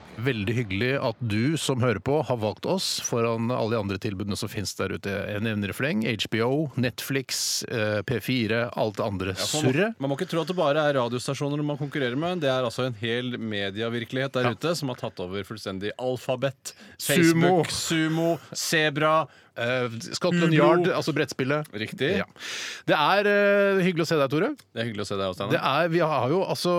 Veldig hyggelig at du som hører på, har valgt oss foran alle de andre tilbudene som finnes der ute. Jeg nevner i fleng HBO, Netflix, eh, P4, alt det andre Man må, surret. man må ikke tro at det bare er radiostasjoner man konkurrerer med. Det er altså en hel medievirkelighet der ute som har tatt over fullstendig alfabet. Sumo. Facebook, Sumo, Sebra Eh, Scotland Ulo. Yard, altså brettspillet. Riktig. Ja. Det er eh, hyggelig å se deg, Tore. Det er hyggelig å se deg òg, Det Steinar. er, vi har jo, altså,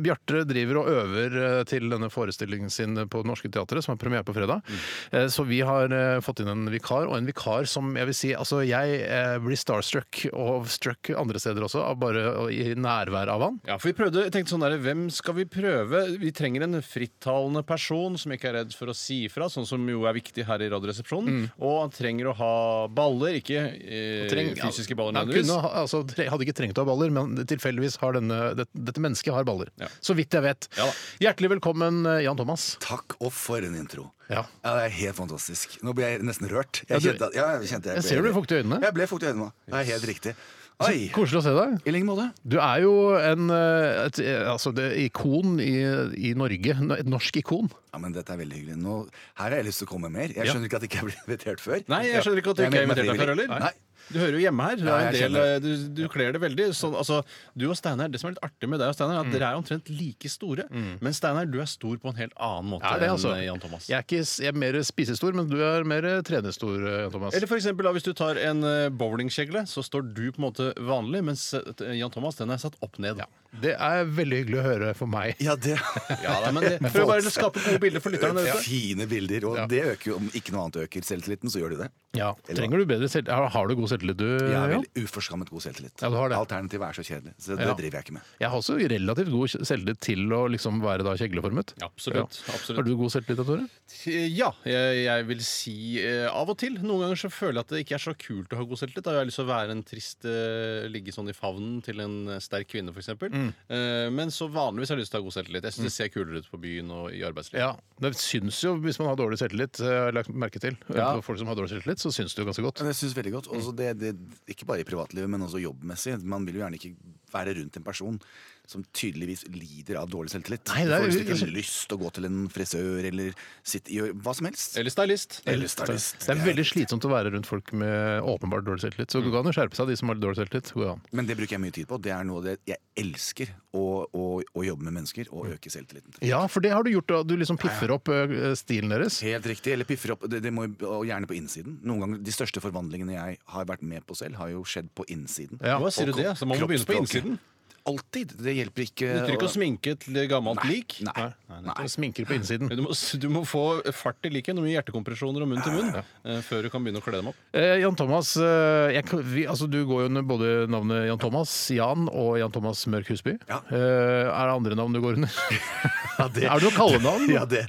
Bjarte driver og øver eh, til denne forestillingen sin på Det Norske Teatret, som har premiere på fredag. Mm. Eh, Så vi har eh, fått inn en vikar, og en vikar som jeg vil si Altså, jeg eh, blir starstruck, og struck andre steder også, av bare å- i nærvær av han. Ja, for vi prøvde, jeg tenkte sånn der, Hvem skal vi prøve? Vi trenger en frittalende person som ikke er redd for å si ifra, sånn som jo er viktig her i Radioresepsjonen. Mm. Og han trenger å ha baller, ikke eh, Treng- fysiske baller han nødvendigvis. kunne, ha- altså, tre- hadde ikke trengt å ha baller, men tilfeldigvis har denne, det, dette mennesket har baller. Ja. Så vidt jeg vet. Ja da. Hjertelig velkommen, eh, Jan Thomas. Takk og for en intro. Ja. det er helt fantastisk. Nå blir jeg nesten rørt. Ja, Jeg du- kjente at, ja, jeg kjente Jeg ser du blir fuktig i øynene. Jeg ble fuktig i øynene. Det er helt riktig. Oi! Koselig å se deg. I like måte. Du er jo en, eh, et eh, altså det, ikon i, i Norge. Et norsk ikon. Ja, men dette er veldig hyggelig. Nå, her har jeg lyst til å komme mer. Jeg Ja. skjønner ikke at jeg ikke er blitt invitert før. Nei, jeg skjønner ikke at du Jeg ikke har mener invitert deg før frivillig. heller. Nei. Du hører jo hjemme her. Du, Ja, er en jeg del, du, du kler det veldig. Sånn, altså, du og Steinar, Det som er litt artig med deg og Steinar, er Mm. at dere er omtrent like store. Men Steinar, du er stor på en helt annen måte Er det, altså? enn eh, Jan Thomas. Jeg er, ikke, s- jeg er mer spisestor, men du er mer trenerstor, eh, Jan Thomas. Eller for eksempel, da, Hvis du tar en eh, bowlingkjegle, så står du på en måte vanlig, mens eh, Jan Thomas den er satt opp ned. Ja, Det er veldig hyggelig å høre for meg. Ja, det da, men det, For å bare skape gode bilder for lytterne der ute. Fine bilder. Og det øker jo, om ikke noe annet øker selvtilliten, så gjør de det. Ja. Trenger du bedre selv... Har- Har du god selvtillit, du? Jeg er Jan? vel uforskammet god selvtillit. Ja, du har det. Alternativet er så kjedelig, så det Ja. driver jeg ikke med. Jeg har også relativt god selvtillit til å liksom være da kjegleformet. Absolutt. Ja. absolutt. Har du god selvtillit, da, Tore? Eh, Ja, jeg, jeg vil si eh, av og til. Noen ganger så føler jeg at det ikke er så kult å ha god selvtillit. Da har jeg lyst til å være en trist eh, ligge sånn i favnen til en eh, sterk kvinne, f.eks. Mm. Eh, men så vanligvis har jeg lyst til å ha god selvtillit. Jeg syns det ser kulere ut på byen og i arbeidslivet. Ja. Det syns jo, hvis man har dårlig selvtillit, eh, har jeg lagt merke til. Ja. For Folk som har dårlig selvtillit, så syns det jo ganske godt. Mm. Men jeg synes veldig godt, også det, det, Ikke bare i privatlivet, men også jobbmessig. Man vil jo gjerne ikke være rundt en person som tydeligvis lider av dårlig selvtillit. Nei, det er du får jo- liksom ikke lyst til å gå til en frisør eller sitte, gjøre hva som helst. Eller stylist. Eller stylist. Det er veldig slitsomt å være rundt folk med åpenbart dårlig selvtillit. Så det går an å skjerpe seg, de som har dårlig selvtillit. Går an. Men det bruker jeg mye tid på. Det er noe av det jeg elsker. Å, å, å jobbe med mennesker og Mm. øke selvtilliten. Ja, for det har du gjort. da. Du liksom piffer opp ø, stilen deres. Helt riktig. Eller piffer opp. Det, det må jo, og gjerne på innsiden. Noen ganger, De største forvandlingene jeg har vært med på selv, har jo skjedd på innsiden. Ja. Hva sier du det? Så man må begynne på innsiden. Alltid. Det hjelper ikke. Du trenger ikke å sminke et gammelt lik. Nei. Du sminker på innsiden. Du må, du må få fart i liket. Noen hjertekompresjoner og munn til munn eh, før du kan begynne å kle dem opp. Eh, Jan Thomas, eh, jeg, kan- vi, altså, du går jo under både navnet Jan Thomas, Jan og Jan Thomas Mørk Husby. Ja. Eh, er det andre navn du går under? Er det noe kallenavn? Ja, det,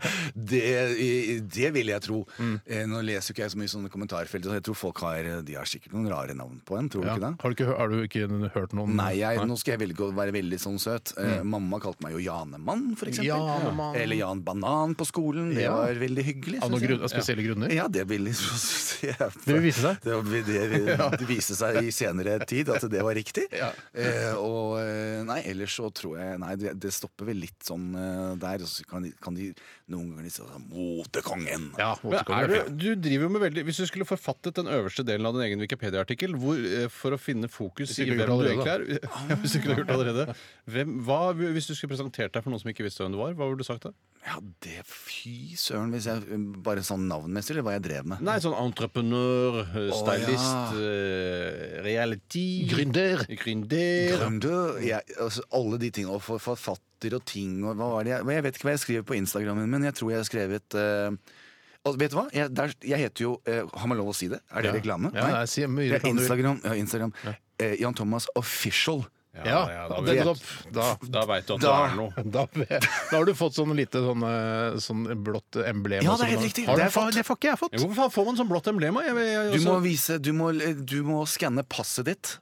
det, det vil jeg tro. Mm. Eh, Nå leser jo ikke jeg så mye sånne kommentarfelt, så jeg tror folk har, de har sikkert noen rare navn på en. Tror du Ja. ikke det? Har, du ikke, hø- har du ikke hørt noen Nei, jeg, nå skal jeg velge å være veldig sånn søt. Eh, Mamma kalte meg jo Janemann, for eksempel. Mm. Janemann. Eller Jan Banan på skolen. Det Ja. var veldig hyggelig. Av synes noen jeg. grunn, av spesielle grunner? Ja, det vil Det vil vise seg. Det, vil- det, vil- det viste seg i senere tid at det var riktig. Eh, og eh, nei, ellers så tror jeg Nei, det, det stopper vel litt sånn eh, der. Og så kan de, kan de noen ganger si sånn Motekongen! Ja, Men er motekongen. du, du driver jo med veldig Hvis du skulle forfattet den øverste delen av din egen Wikipedia-artikkel hvor, eh, for å finne fokus du i hvem ikke har gjort du allerede, egentlig er ja, Hvis du ikke har gjort det allerede hvem, hva, Hvis du skulle presentert deg for noen som ikke visste hvem du var, hva ville du sagt da? Ja, det fy søren, hvis jeg bare sånn navnmessig, eller hva jeg drev med. Nei, sånn entreprenør, eh, Å, stylist, ja. eh, reality Gründer. Gründer. Gründer, jeg, altså, alle de tingene, og for, forfatter og ting og hva var det jeg, men jeg vet ikke hva jeg skriver på Instagrammen, men jeg tror jeg har skrevet eh, og Vet du hva? Jeg, der, jeg heter jo eh, Har man lov å si det? Er det Ja. reklame? Ja, nei, si mye det er reklame du vil. Instagram. Ja, Instagram. Eh, Jan Thomas Official. Ja, da, det- vet- da, da, da veit du at Da- det er noe. Da, da har du fått sånn lite sånn, eh, sånn blått emblem. Ja, og det er sånn. helt riktig. Har Det har du jeg fått- fått. det får ikke jeg Ja, fått. Hvorfor faen får man sånn blått emblem? Jeg, jeg, jeg, Du må også- vise Du må, du må skanne passet ditt.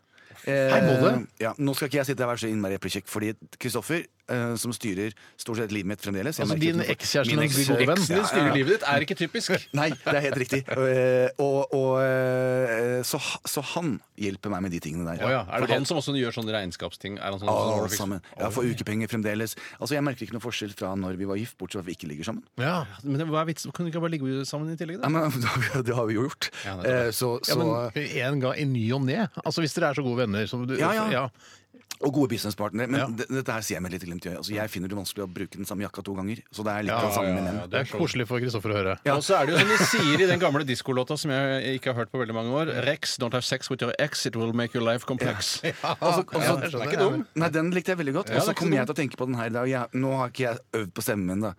Eh, Hei, må du? ja, nå skal ikke jeg sitte her og være så innmari eplekjekk, fordi Kristoffer eh, som styrer stort sett livet mitt fremdeles. Jeg Altså, merker din ikke noe- ekskjæreste Min og eks- gode venn. eks- ja, ja, Eksen din ja. styrer livet ditt, er ikke typisk. Nei, det er helt riktig. Eh, Og, og, eh, så, ha- så han hjelper meg med de tingene der. Å ja. Er Fordi- det han som også gjør sånne regnskapsting? Er han sånn, sånn Alt overfiks- sammen. Jeg får ukepenger fremdeles. Altså, Jeg merker ikke noe forskjell fra når vi var gift, bortsett fra at vi ikke ligger sammen. Ja. Men det- hva er vitsen? Kunne du ikke bare ligge sammen i tillegg? Nei, da? men Det har vi- det har vi jo gjort. Ja, nettopp. Eh, Så, Ja, men så, en gang i ny og ne. Altså, hvis dere er så gode venner som du Ja, ja. og gode businesspartnere. Men Ja. det- dette her sier jeg med litt glimt i øyet. Altså, jeg finner det vanskelig å bruke den samme jakka to ganger. Så det er litt Ja, av det samme ja, med ja, menn. ja, Det er koselig for Kristoffer å høre. Ja. Og så er det jo som de sier i den gamle diskolåta som jeg ikke har hørt på veldig mange år. Rex, don't have sex with your ex, it will make your life complex. Altså- altså- Ja, jeg skjønner. Den er ikke dum. Nei, den likte jeg veldig godt. Ja, og så det er kom ikke jeg til å tenke på den her i dag. Jeg, nå har ikke jeg øvd på stemmen min, da.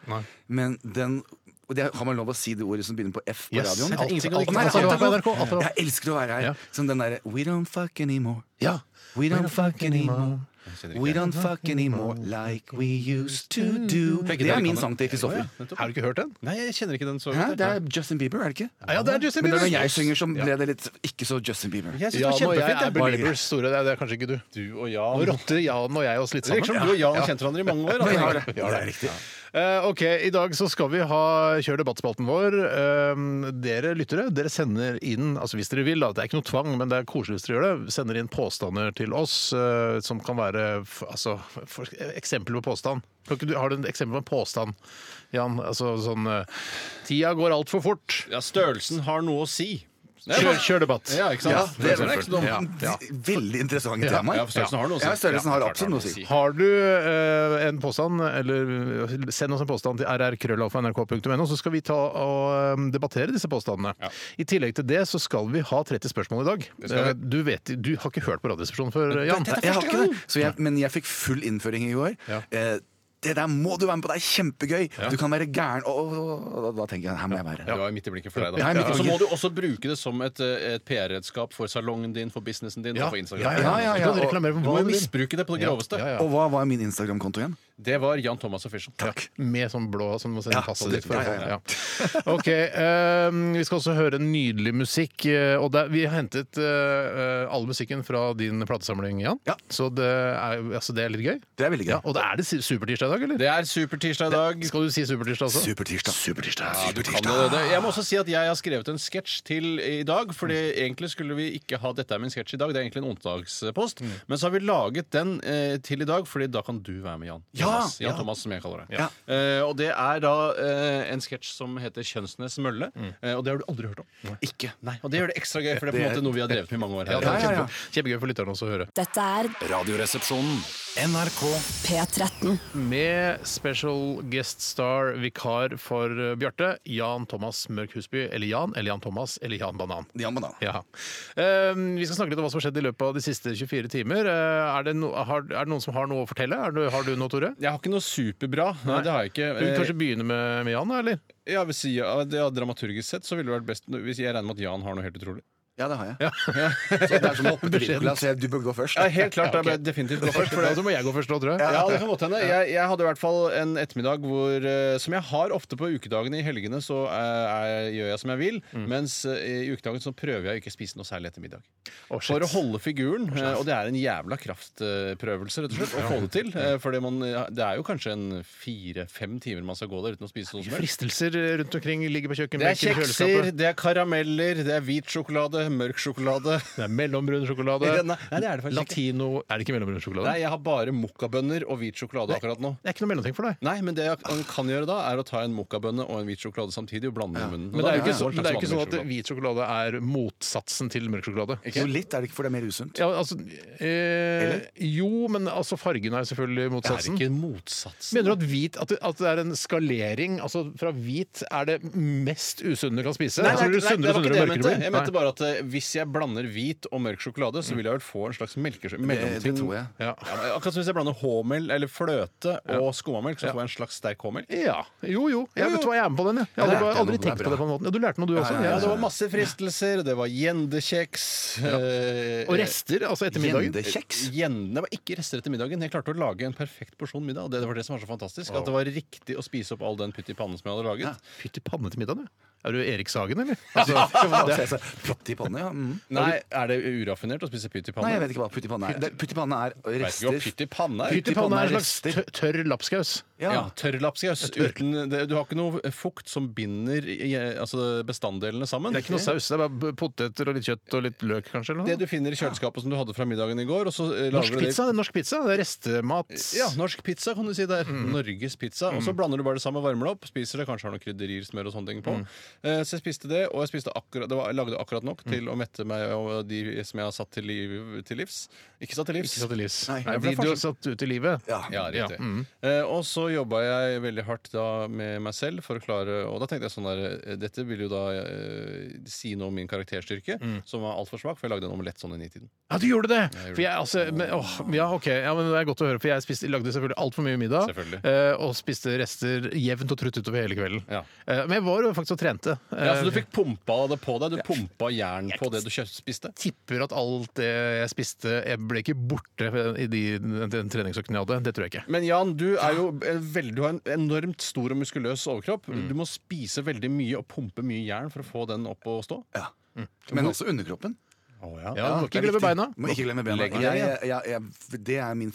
Men den og det, Har man lov å si det ordet som begynner på F på Yes. radioen? Alt- ingenting å alt- like. Nei, alt er lov på alt er NRK, alt er lov. Jeg elsker å være her. Ja. Som den derre We don't fuck anymore. Ja. We don't fuck anymore. We don't fuck anymore like we used to do. Mm. Det Begge dere er min kan sang til Å, ja, Kristoffer. nettopp. Har du ikke hørt den? Nei, jeg kjenner ikke den så Hæ? godt. Det er Justin Bieber, er det ikke? Ja, det er Justin Men det Bieber. er når jeg synger, som ble det litt ikke så Justin Bieber. Jeg synes Ja, det nå var jeg kjempefint. er jeg bare- Beliebers store, det er, det er kanskje ikke du. Du og Nå Jan rotter Jan og jeg oss litt Det virker som sammen. du og Jan har kjent hverandre i mange år. Vi har Altså. det. Det er riktig. Eh, ok, I dag så skal vi ha kjør debattspalten vår. Eh, dere lyttere dere sender inn altså hvis dere vil, da, det er ikke noe tvang, men det er koselig hvis dere gjør det, sender inn påstander til oss eh, som kan være f altså, for, eksempel på påstand. Kan ikke du, har du et eksempel på en påstand, Jan? Altså sånn eh, Tida går altfor fort. Ja, størrelsen har noe å si. Det er Kjør, bare- kjør debatt. Ja, ikke sant? Ja, For det er eksempel. ikke noe Ja, ja. Veldig interessante Ja, temaer. ja, for størrelsen har noe å si. Ja, størrelsen har Ja, klart absolutt noe å si. Har du eh, en påstand, eller eh, send oss en påstand til rrkrøllalfa.nrk.no, så skal vi ta og eh, debattere disse påstandene. Ja. I tillegg til det så skal vi ha 30 spørsmål i dag. skal vi. Eh, Du, vet, du har ikke hørt på Radioresepsjonen før, Jan? Nei, jeg har ikke det. Så jeg, men jeg fikk full innføring i går. Ja. Eh, det der må du være med på, det er kjempegøy! Du kan være gæren. Og, og, og da, da tenker jeg her må jeg være. Det var midt i blikket for deg, da. Ja, midt i Og så må blikket. du også bruke det som et, eh, et PR-redskap for salongen din, for businessen din og for Instagram. ja, ja, ja. Du kan reklamere for Du må hva jo du vil. misbruke det på det groveste. Ja, ja, Og hva var min Instagram-konto igjen? Det var Jan Thomas Official. Takk. Med sånn blå som du må sende Ja, passet det- ditt for. ja, å få- ja, Ja. Ok, eh, Vi skal også høre nydelig musikk. eh, og der, vi har hentet eh, all musikken fra din platesamling, Jan. Ja. Så det er, altså, det er litt gøy. Det er veldig gøy. Ja, og det er det si- supertirsdag i dag, eller? Det er supertirsdag i dag. Skal du si supertirsdag også? Supertirsdag. Supertirsdag. Ja, du kan det, det. Jeg må også si at jeg har skrevet en sketsj til i dag. Fordi egentlig skulle vi ikke ha 'Dette er min sketsj' i dag. Det er egentlig en onsdagspost. Men så har vi laget den eh, til i dag, Fordi da kan du være med, Jan. Ja! Thomas, Jan Ja. Thomas, som jeg kaller deg. Ja. Eh, og det er da eh, en sketsj som heter 'Kjønnsnes mølle'. Eh, og det har du aldri hørt om. Ikke. Nei, Og det gjør det ekstra gøy, for det er på Det en er- måte noe vi har drevet med i mange år. Ja, her det er Ja, ja, ja. kjempe, kjempegøy for lytterne også å høre. Dette er Radioresepsjonen. P13. Med special guest star, vikar for eh, Bjarte, Jan Thomas Mørk Husby. Eller Jan, eller Jan Thomas, eller Jan Banan. Ja, men da. Ja. Eh, vi skal snakke litt om hva som har skjedd i løpet av de siste 24 timer. Eh, er, det no, har, er det noen som har noe å fortelle? Er det, har du noe, Tore? Jeg har ikke noe superbra. Nei, det har jeg ikke. Du vil Eh, kanskje begynne med, med Jan, da, eller? Ja, hvis jeg, ja, Dramaturgisk sett så ville det vært best hvis jeg regner med at Jan har noe helt utrolig. Ja, det har jeg. Så det er som å hoppe til Nicolas, jeg- du bør gå først. Ja, helt klart. Det er definitivt gå først. For det, Da Altså, må jeg gå først nå, tror jeg. Ja, det kan godt hende. Jeg, jeg hadde i hvert fall en ettermiddag hvor, eh, som jeg har ofte på ukedagene. I helgene så eh, er, gjør jeg som jeg vil, mens eh, i ukedagen så prøver jeg å ikke spise noe særlig ettermiddag. Å, shit. For å holde figuren, eh, og det er en jævla kraftprøvelse rett og slett, å få det til. eh, Fordi man, det er jo kanskje en fire-fem timer man skal gå der uten å spise noe som helst. Fristelser rundt omkring ligger på Det er kjøkkenbenken, i kjekser, kjøleskapet. det er karameller, det er hvit sjokolade, mørk sjokolade. Det er mellombrun sjokolade. Nei, det er det faktisk ikke. Latino Er det ikke mellombrun sjokolade? Nei, jeg har bare mokkabønner og hvit sjokolade akkurat nå. Det er ikke noe mellomting for deg. Nei, men det man kan gjøre da, er å ta en mokkabønne og en hvit sjokolade samtidig og blande den i munnen. Og Men det da er jo blir ikke, så, en men det er jo slags ikke sånn at vanlig hvit sjokolade er motsatsen til mørk sjokolade. Jo, litt er det ikke, for det er mer usunt. Ja, altså, eh, jo, men altså fargen er selvfølgelig sjokolade. motsatsen. Det er ikke motsatsen. Mener du at, hvit, at, det, at det er en skalering? Altså Fra hvit er det mest usunne du kan spise? Nei, og nei, så blir nei, det det sunnere og var ikke det sunnere og jeg mørkere mente. blir. Jeg mente bare at eh, hvis jeg blander hvit og mørk sjokolade, så vil jeg vel få en slags melkesj- Det, det mellomting. tror jeg. Nei. Ja, men akkurat som hvis jeg blander H-melk eller fløte og skummamelk, så får jeg en slags sterk H-melk. ja. ja. Jo, jo. Jeg vet hva jeg er med på den, jeg. Jeg Ja, hadde lærte bare jeg aldri noe. Det er tenkt på det bra. på den måten. Ja, du lærte noe, du Ja, også? ja, ja, Ja, det Ja. var masse fristelser, det var gjendekjeks eh, Og rester, altså etter middagen. Gjendekjeks. Gjende det var ikke rester etter middagen. Jeg klarte å lage en perfekt porsjon middag. Og det var det som var så fantastisk. At det var riktig å spise opp all den pytt i pannen som jeg hadde laget. Fytti panne til middagen, ja. Er du Erik Sagen, eller? Altså, det- Pytt i panne, ja. Mm. Nei, Er det uraffinert å spise pytt i panne? Nei, jeg vet ikke hva pytt i panne er. Det- Pytt i panne er Jeg vet ikke hva rester. pytt i panne er. Pytt i panne er en slags tø- tørr lapskaus. Ja, Ja. tørr lapskaus. uten- det- Du har ikke noe fukt som binder i- altså bestanddelene sammen. Det er ikke noe saus. Det er bare poteter og litt kjøtt og litt løk, kanskje. Eller Det noe. du finner i kjøleskapet som du hadde fra middagen i går. Og så eh, lager Norsk du det i- pizza, det er norsk pizza. Det er restemat. Ja, norsk pizza kan du si det er. Norges pizza. Og så blander du bare det sammen, varmer det opp, spiser det, kanskje har noe krydderier, smør og sånne ting på. Eh, Så jeg spiste det, og jeg spiste akkurat, det var, jeg lagde akkurat nok til å mette meg og de som jeg har satt til, liv, til livs. Ikke satt til livs. Ikke satt i livs. Nei, Nei, men fordi det er du forskjell- har satt ut i livet. Ja. Ja, riktig. Ja, mm. Eh, og så jobba jeg veldig hardt da med meg selv for å klare Og da tenkte jeg sånn der eh, Dette vil jo da eh, si noe om min karakterstyrke, som var altfor svak, for jeg lagde en omelett sånn i nitiden. Ja, du gjorde det! gjorde For jeg, altså, men, åh, ja, ok, ja, men Det er godt å høre, for jeg spiste, lagde selvfølgelig altfor mye middag. Selvfølgelig. eh, og spiste rester jevnt og trutt utover hele kvelden. Ja. Eh, men jeg var jo faktisk og trente. Ja, Så du Eh, fikk pumpa det på deg? Du pumpa jern på det du kjø- spiste? tipper at alt det jeg spiste Jeg ble ikke borte i de, den, den treningsøkten jeg hadde. Det tror jeg ikke. Men Jan, du, er jo en veldig, du har en enormt stor og muskuløs overkropp. Du må spise veldig mye og pumpe mye jern for å få den opp og stå. Ja. Men også underkroppen. Mm. Ja, du må det ikke er viktig. glemme beina. Må ikke glemme beina. Legg- Jeg, jeg, jeg, jeg, det er min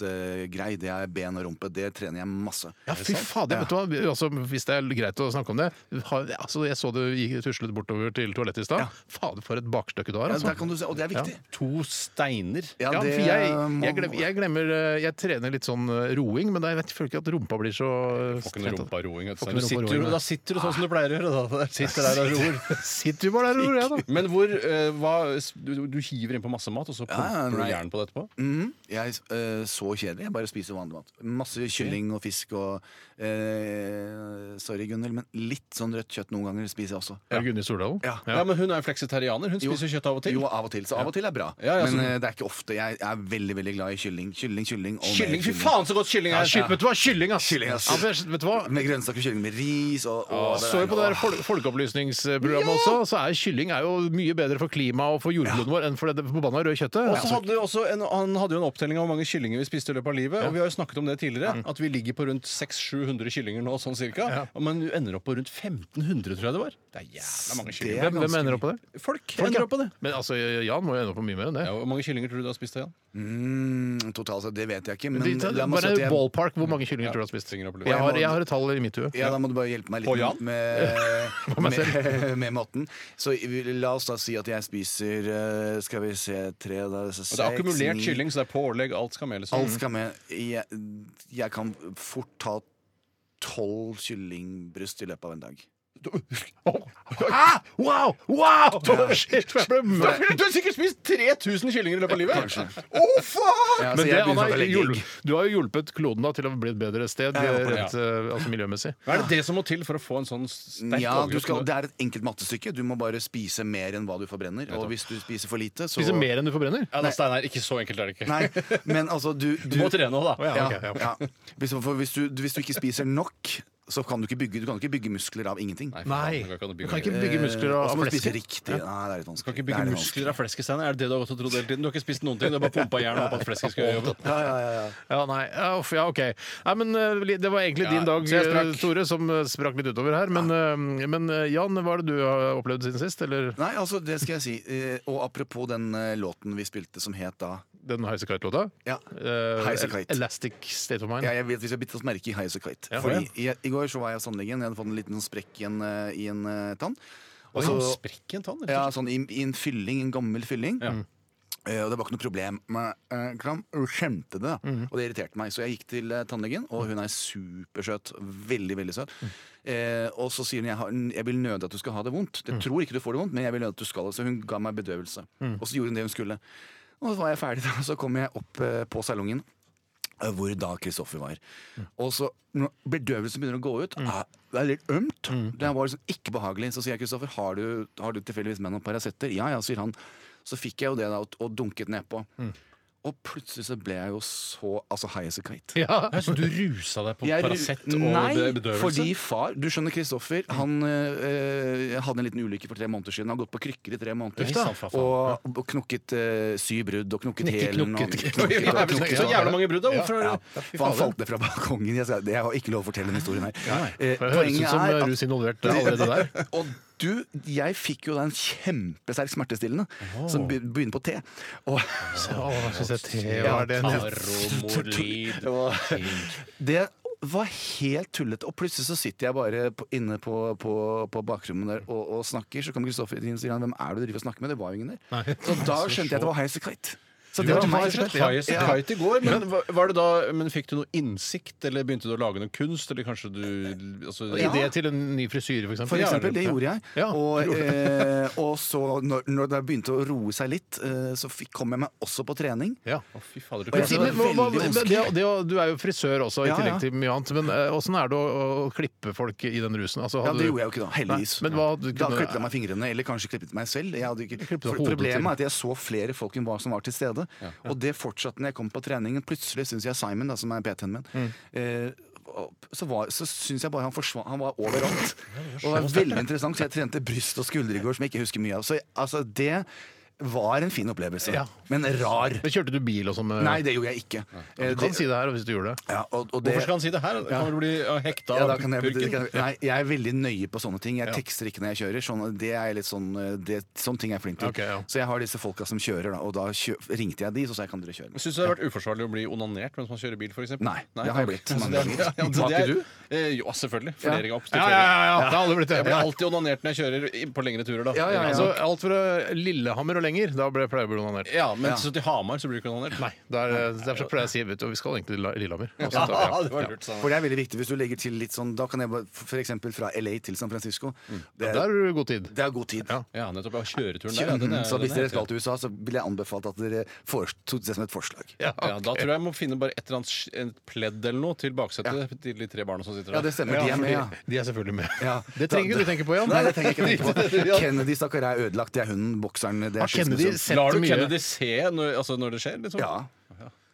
favorittgrei. det er ben og rumpe. Det trener jeg masse. Ja, fy fader, vet du hva? Altså, hvis det er greit å snakke om det ha, altså, Jeg så du gikk- tuslet bortover til toalettet i stad. Ja. Fader, for et bakstykke du har. Ja, Altså. der kan du se, og det er viktig. To steiner. Ja, Ja, det for jeg, må- jeg, glemmer, jeg glemmer eh, Jeg trener litt sånn eh, roing, men jeg vet føler ikke at rumpa blir så eh, Får ikke noe trent. rumparoing. vet Får du. Du ikke noe sitter, rumparoing, jo- da sitter du sånn som du pleier å gjøre. Da. Der Sitter der og ror. Sitter jo bare der og ror, jeg, da. Men hvor, eh, hva, du, du hiver innpå masse mat, og så Ja, ja, pumper du nei. jern på det etterpå? Mm, jeg eh, så kjedelig. Jeg bare spiser vanlig mat. Masse kylling og fisk og eh, Sorry, Gunhild, men litt sånn rødt kjøtt noen ganger spiser jeg også. Er det Gunhild Stordalen? Ja. Ja, men Hun er jo fleksitarianer. Hun spiser kjøtt av og til. Jo, av og til. Så av og til er bra. Ja, ja, men så- eh, det er ikke ofte. Jeg er veldig veldig glad i kylling. Kylling, kylling og mer Kylling! Fy faen, så godt kylling Ja, er! skyt, vet du hva? Kylling, ass! Kylling, ass. Ja, for, vet du hva? Med grønnsaker, kylling med ris og, og Jeg så jo på det der fol folkeopplysningsprogrammet også, så er kylling er jo mye bedre for klimaet og for jordkloden vår enn for det forbanna røde kjøttet. Og så hadde vi også en, Han hadde jo en opptelling av hvor mange kyllinger vi spiste i løpet av livet. Og vi har jo snakket om det tidligere, at vi ligger på rundt 600-700 kyllinger nå, sånn cirka. Ja. Men du ender opp på rundt 1500, tror jeg det var. Det er jævla mange Det kyllinger. er Hvem, hvem ender opp på det? Folk, Folk, ja. ender opp på det. Men altså, Jan må jo ende opp på mye mer enn det. Ja, hvor mange kyllinger tror du du har spist, Jan? Mm, totalt sett, det vet jeg ikke. Men De- ta- la meg si Bare at jeg- ballpark, hvor mange kyllinger tror du har spist? Finger opp i lufta. Jeg har, jeg har et tall i mitt hue. Ja, da må du bare hjelpe meg litt På Jan? med, meg med, med, måten. Så vi- la oss da si at jeg spiser eh, Skal vi se tre, da seks, Og det er akkumulert ni. kylling, så det er pålegg, alt skal med. Liksom. Alt skal med. Jeg, jeg kan fort ta tolv kyllingbryst i løpet av en dag. Ah, wow! Wow! Shit, jeg ble Da, mørk. du har sikkert spist 3000 kyllinger i løpet av livet! Å, Ja, faen! så Altså, jeg Men det, han begynner har å legge hjulpet, egg. du har jo hjulpet kloden da, til å bli et bedre sted Jeg håper det, rent, eh, altså miljømessig. Hva er det det som må til for å få en sånn sterk ja, du overgrep? skal, Det er et enkelt mattestykke. Du må bare spise mer enn hva du forbrenner. Og hvis du spiser for lite, så Spiser mer enn du forbrenner? Ja, da, Steinar, ikke så enkelt er det ikke. Nei, men altså, du, Du du må trene òg, da. Å, ja, ok, ja. ja. Hvis, for hvis, du, hvis du ikke spiser nok, så kan du ikke bygge, du kan ikke bygge muskler av ingenting. Eh, Nei, for Nei. faen, det går Du ikke an å kan ikke bygge- bygge Eh, muskler av Og så må du spise flesker. riktig. Nei, det er litt vanskelig. Du kan ikke Det bygge er litt muskler av fleskesteiner. Er det det du har gått og trodd hele tiden? Du har ikke spist noen ting, du har bare pumpa jern opp at flesket skal gjøre jobben. vanskelig. Ja, ja, ja, ja. Ja, nei, ja, uff, ja, ok. Nei, men eh, li- Det var egentlig Ja, din dag, så jeg sprakk. eh, Tore, som eh, sprakk litt utover her. Men, eh, men eh, Jan, hva er det du har opplevd siden sist? Eller Nei, altså, det skal jeg si. Eh, Og apropos den eh, låten vi spilte som het da den Highasakite-låta? Ja, Eh, Highasakite. Elastic State of Mind. ja jeg vet vi skal bitte oss merke i Highasakite. Ja. Fordi i, i går så var jeg hos tannlegen. Jeg hadde fått en liten sprekk i en, eh, i en eh, tann. Og Så så- sprekk en tann, rett ja, og slett. sånn i, i en fylling, en gammel fylling. Eh, og det var ikke noe problem. Men eh, kram, hun skjønte det, da. Mm. og det irriterte meg. Så jeg gikk til eh, tannlegen, og hun er supersøt. Veldig, veldig søt. Mm. Eh, og så sier hun jeg, har, jeg vil nødig at du skal ha det vondt. Mm. Jeg tror ikke du får det vondt, men jeg vil nødig at du skal det. Så hun ga meg bedøvelse. Og så gjorde hun det hun skulle. Og så var jeg ferdig, da. Så kom jeg opp eh, på salongen. eh, Hvor da Kristoffer var. Mm. Og så når bedøvelsen begynner å gå ut. eh, Det er litt ømt. Mm. Det var liksom ikke behagelig. Så sier jeg Kristoffer, har du, Mm. har du tilfeldigvis med noen Paracet? Ja ja, sier han. Så fikk jeg jo det da, og- og dunket nedpå. Og plutselig så ble jeg jo så altså high as a kite. Ja. Jeg synes du rusa deg på Jeg- Paracet og Nei, be- bedøvelse. fordi far Du skjønner, Kristoffer Mm. han eh, hadde en liten ulykke for tre måneder siden. Han har gått på krykker i tre måneder. Oi, sann, faen. og, og knokket eh, syv brudd og knokket Knikke, hælen. og- knokket, knokket, Det og er vel knokket, ikke så og- jævla mange brudd, da. Ja. Hvorfor er ja, det for han falt ned fra balkongen. Jeg, skal, jeg har ikke lov å fortelle den historien her. Eh, Det høres ut som poenget er at- rus involvert allerede der. og du, jeg fikk jo da en kjempesterk smertestillende som be- begynner på T. Og Å, synes jeg te Ja, var det Taromolid. Det var- det var helt tullete. Og plutselig så sitter jeg bare på, inne på, på, på bakrommet der og, og snakker. Så kommer Kristoffer inn og sier han, hvem er det du driver og snakker med? Det var jo ingen der. Så da skjønte jeg at det var Highasakite. Kite. Så Du det var var meg. rett og slett high as a kite i går, men, var- var det da, men fikk du noe innsikt, eller begynte du å lage noe kunst, eller kanskje du altså, Ja. Idé til en ny frisyre, for eksempel. For eksempel, det gjorde jeg. Ja, og, eh, og så, når, når det begynte å roe seg litt, eh, så fikk, kom jeg meg også på trening. Ja. Å, fy fader, du Og jeg klarte sier- det. Men, hva, hva, veldig men det, det, du er jo frisør også, i Ja, ja. tillegg til mye annet. Men eh, åssen er det å, å klippe folk i den rusen? Altså, Ja, hadde Det du- gjorde jeg jo ikke da, heldigvis. Nei, men hva hadde du da kunnet- klippet jeg meg fingrene, eller kanskje klippet meg selv. Jeg hadde ikke, klippet for, hodet problemet til. er at jeg så flere folk enn hva som var til stede. Og det fortsatte når jeg kom på treningen. Plutselig syns jeg Simon, da, som er PT-en min Mm. eh, og så, var- så syns jeg bare han forsvant Han var overalt. Og det var veldig interessant, så jeg trente bryst og skuldre i går, som jeg ikke husker mye av. Så jeg- altså, det var en fin opplevelse, Ja. men rar. Men kjørte du bil og sånn? med- Nei, det gjorde jeg ikke. Eh, Du kan det- si det her hvis du gjorde det. ja, og, og det, Hvorfor skal han si det her? Kan du bli ja, hekta ja, da av kan jeg, det purken? kan, nei, jeg er veldig nøye på sånne ting. Jeg tekster ikke når jeg kjører. Sånn, det er litt sånn, eh, det, sånne ting er jeg flink til. Ok, ja. Så jeg har disse folka som kjører, da, og da kjø, ringte jeg de, så sa jeg kan dere kjøre. Syns du det har vært uforsvarlig å bli onanert mens man kjører bil, f.eks.? Nei, det har jeg blitt mange ganger. Ja, ja, det Vaker er, du? eh, jo, selvfølgelig. Flere ganger. opp til Ja, flere. ja, ja, ja. Det har aldri blitt det. Jeg blir alltid onanert når jeg kjører i- på lengre turer, da. Ja, ja, ja. Altså, alt fra Lillehammer og lenger, da ble jeg pleier jeg å bli onanert. Ja, men Ja. så til Hamar så blir du ikke onanert. Nei. Der, eh, derfor pleier jeg å si vet du, vi skal egentlig til Lilla- Lillehammer. Og så Ja, tar vi- det var lurt sånn. For det er veldig viktig hvis du legger til litt sånn Da kan jeg bare f.eks. fra LA til San Francisco. Det Mm. Der har er, du god tid. det er god tid. Ja. Ja, nettopp. Ja, kjøreturen der. Ja, den Mm, er, Så hvis den dere er skal til USA, så vil jeg anbefale at dere foretok det som et forslag. Ja, ja, Da ok. tror jeg jeg må finne bare et eller annet sk- et pledd eller noe til baksetet til de tre barna som sitter der. Ja, det stemmer. De er med, ja. fordi de er selvfølgelig med. Ja. Det trenger ikke du tenke på, Jan. Nei, det trenger jeg ikke tenke på. Kennedy, stakkar, er ødelagt. Det er hunden, bokseren, det Har er Ah, Kennedy skilsmissen. sett Lar du mye? Kennedy se når, altså, når det skjer? Liksom? Ja.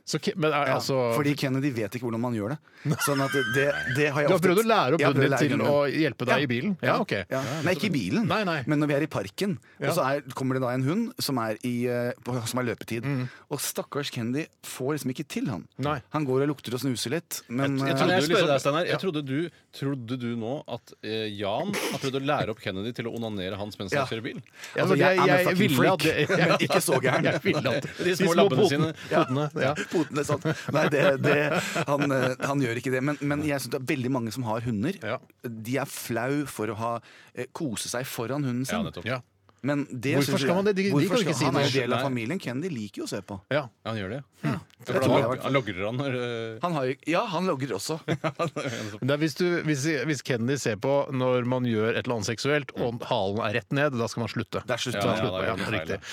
Så, Ke- men er, Ja, altså, Fordi Kennedy vet ikke hvordan man gjør det. Sånn at det, det har jeg du har ofte- prøvd å lære opp Jeg har prøvd hunden lære din til hunden å min. hjelpe deg i bilen? Ja, ok. Ja. Nei, ikke i bilen, Nei, nei. men når vi er i parken, Ja. og så er, kommer det da en hund som er, i, eh, på- som er løpetid. Og stakkars Kennedy får liksom ikke til han. Mm. Nei. Han går og lukter og snuser litt, men Jeg eh, trodde, jeg du spørre liksom, deg, Steinar? jeg trodde, du, trodde du nå at eh, Jan har prøvd å lære opp Kennedy til å onanere hans mens han Ja. kjører bil? Ja, altså, men jeg, jeg- er en jeg fucking ville at freak, det- men ikke så gæren. Jeg ville at De små labbene sine. Potene, ja. Poten er sånn. Nei, det, det, han, eh, han gjør ikke det. Men, men jeg synes det er veldig mange som har hunder. Ja. De er flau for å ha, eh, kose seg foran hunden Ja, sin. nettopp. Ja. Men det Hvorfor synes skal jeg- man det? De- de hvorfor kan skal- ikke si han er det. en del av Nei. familien. Kennedy liker jo å se på. Ja. Ja, han gjør det. ja. Jeg For tror han, jeg har log- vært- han logrer han når eh, Han har, jo- ja, han logger også. Men Det er hvis, du, hvis, hvis Kennedy ser på når man gjør et eller annet seksuelt, og halen er rett ned, da skal man slutte. Der slutter Da Ja, han. ja, slutter man, da gjør ja, man feil, riktig.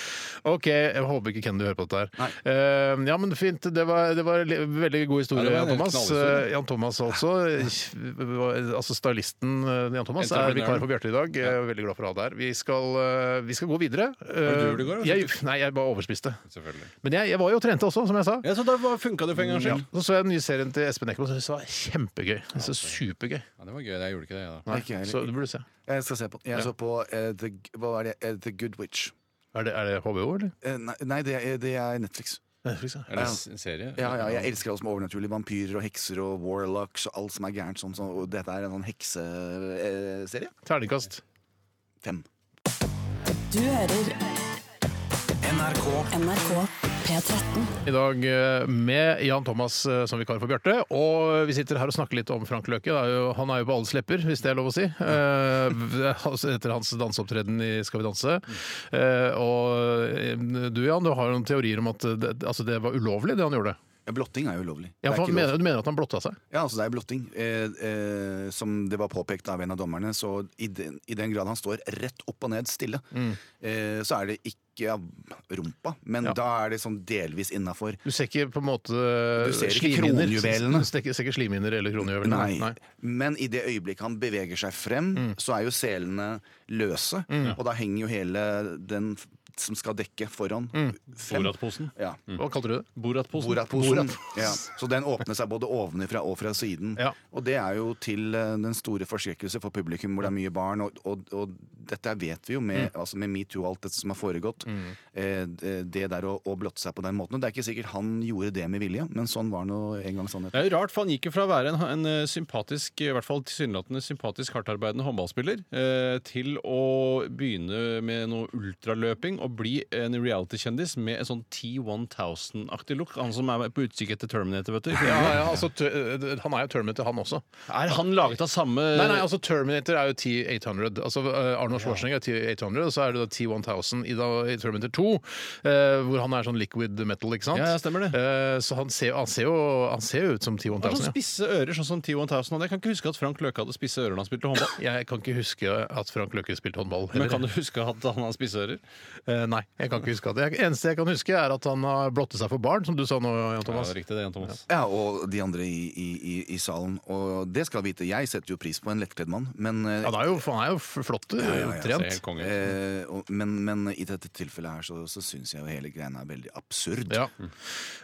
OK, jeg håper ikke Kennedy hører på dette her. Eh, ja, men fint. Det var, det var en li- veldig god historie, Ja, det var en Jan Thomas. knallhistorie. Eh, Jan Thomas også. eh, Altså Stylisten eh, Jan Thomas er vikar for Bjarte i dag. Jeg er veldig glad for å ha deg her. Vi skal, eh, vi skal gå videre. Eh, Var det du det går, da? jeg, nei, jeg bare overspiste. Selvfølgelig. Mm, Men jeg, jeg var jo og trente også, som jeg sa. Ja, så da funka det for en gangs Ja. skyld. Så så jeg den nye serien til Espen Eckbo, som jeg syntes var kjempegøy. Jeg synes det var Supergøy. Ja, det var gøy. Jeg gjorde ikke det, jeg, da. Nei, Ikke jeg heller. så du burde se. Jeg skal se på Jeg så på eh, the, G- hva er det? Eh, the Good Witch. Er det, er det HBO, eller? Eh, nei, nei det, er, det er Netflix. Netflix, ja. Eller s- en serie. Ja, ja, jeg elsker alt som er overnaturlig. Vampyrer og hekser og warlocks og alt som er gærent. Sånn, sånn, og dette er en sånn hekseserie. Terningkast. Fem. Du hører NRK P13. I dag eh, med Jan Thomas eh, som vikar for Bjarte. Og vi sitter her og snakker litt om Frank Løke. Det er jo, han er jo på alles lepper, hvis det er lov å si. Eh, altså, Etter hans danseopptreden i Skal vi danse. Eh, Og eh, du Jan, du har jo noen teorier om at det, altså, det var ulovlig det han gjorde. Ja, blotting er jo ulovlig. Det Ja, er ikke for han lov. mener, du mener at han blotta seg? Ja, altså det er blotting. Eh, eh, som det var påpekt av en av dommerne, så i den, i den grad han står rett opp og ned stille, Mm. eh, så er det ikke ja, rumpa, men Ja. da er det sånn delvis innafor. Du ser ikke på en måte Du ser ikke slimhinner? kronjuvelene. Du ser ikke, ser ikke slimhinner eller kronjuvelene? Nei. Men i det øyeblikket han Mm. beveger seg frem, så er jo selene løse, og da henger jo hele den f- hvitt som skal dekke foran. Mm. Fem. Boratposen. Ja. Hva kalte du det? Boratposen. Boratposen. Ja. Så den åpner seg både ovenfra og fra siden. Ja. Og det er jo til eh, den store forskrekkelse for publikum hvor det er mye barn. Og, og, og dette vet vi jo med, Mm. altså med metoo og alt dette som har foregått. Eh, det- det der å, å blotte seg på den måten. Og det er ikke sikkert han gjorde det med vilje, men sånn var nå en gang sannheten. Det er jo rart, for han gikk jo fra å være en, en eh, sympatisk, i hvert fall tilsynelatende sympatisk hardtarbeidende håndballspiller, eh, til å begynne med noe ultraløping og bli en reality-kjendis med en sånn T1000-aktig look. Han som er på utkikk etter Terminator, vet du. Ja, ja, altså, t eh, han er jo Terminator, han også. Er han laget av samme Nei, nei, altså Terminator er jo T800. Altså eh, Arnold Schwarzenegger er T800, og så er det da T1000 i, da, i Terminator 2, eh, hvor han er sånn liquid metal, ikke sant? Ja, ja, stemmer det. Eh, så han ser, han, ser jo, han ser jo ut som Han har sånn T1000, altså, ja. spisse ører, sånn som T1000 hadde. Jeg kan ikke huske at Frank Løke hadde spisse ører da han spilte håndball. Jeg kan ikke huske at Frank Løkke spilte håndball. Men kan du huske at han har spisse ører? Eh, nei, jeg kan ikke huske at det. Eneste jeg kan huske, er at han har blottet seg for barn, som du sa nå, Jan Ja, Thomas. riktig det, Jan Thomas. Ja, og de andre i, i, i, i salen. Og det skal vite. Jeg setter jo pris på en lettkledd mann, men eh, Ja, han er jo, han er jo flott, ja, Ser trent. helt konge ut. Eh, og, men, men i dette tilfellet her så, så syns jeg jo hele greia er veldig absurd. Ja.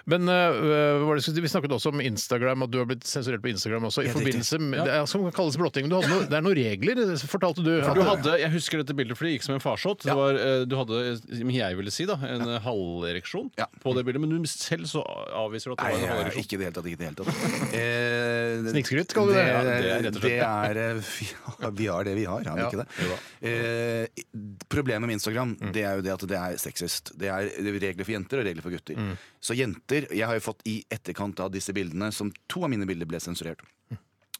Men øh, hva var det, jeg skulle si? vi snakket også om Instagram, at du har blitt sensurert på Instagram også. I Ja, det er forbindelse med, det er, som kan kalles blotting. men Du hadde noe, det er noen regler, fortalte du. Du hadde, jeg husker dette bildet, for det gikk som en farsott. Det Ja. var, eh, Du hadde, som jeg ville si, da, en eh, halvereksjon Ja. på det bildet. Men du selv så avviser du at det Nei, var en jeg, halvereksjon. ikke i det hele tatt. Ikke i det hele tatt. Eh, Snikskryt, kaller du det? Ja, Det, det er rett og slett det er eh, vi har- Vi har det vi har, har vi Ja, ikke det? Eh, problemet med Instagram Det er jo det at det er sexist. Det er regler for jenter og regler for gutter. Så jenter Jeg har jo fått i etterkant av disse bildene, som to av mine bilder ble sensurert.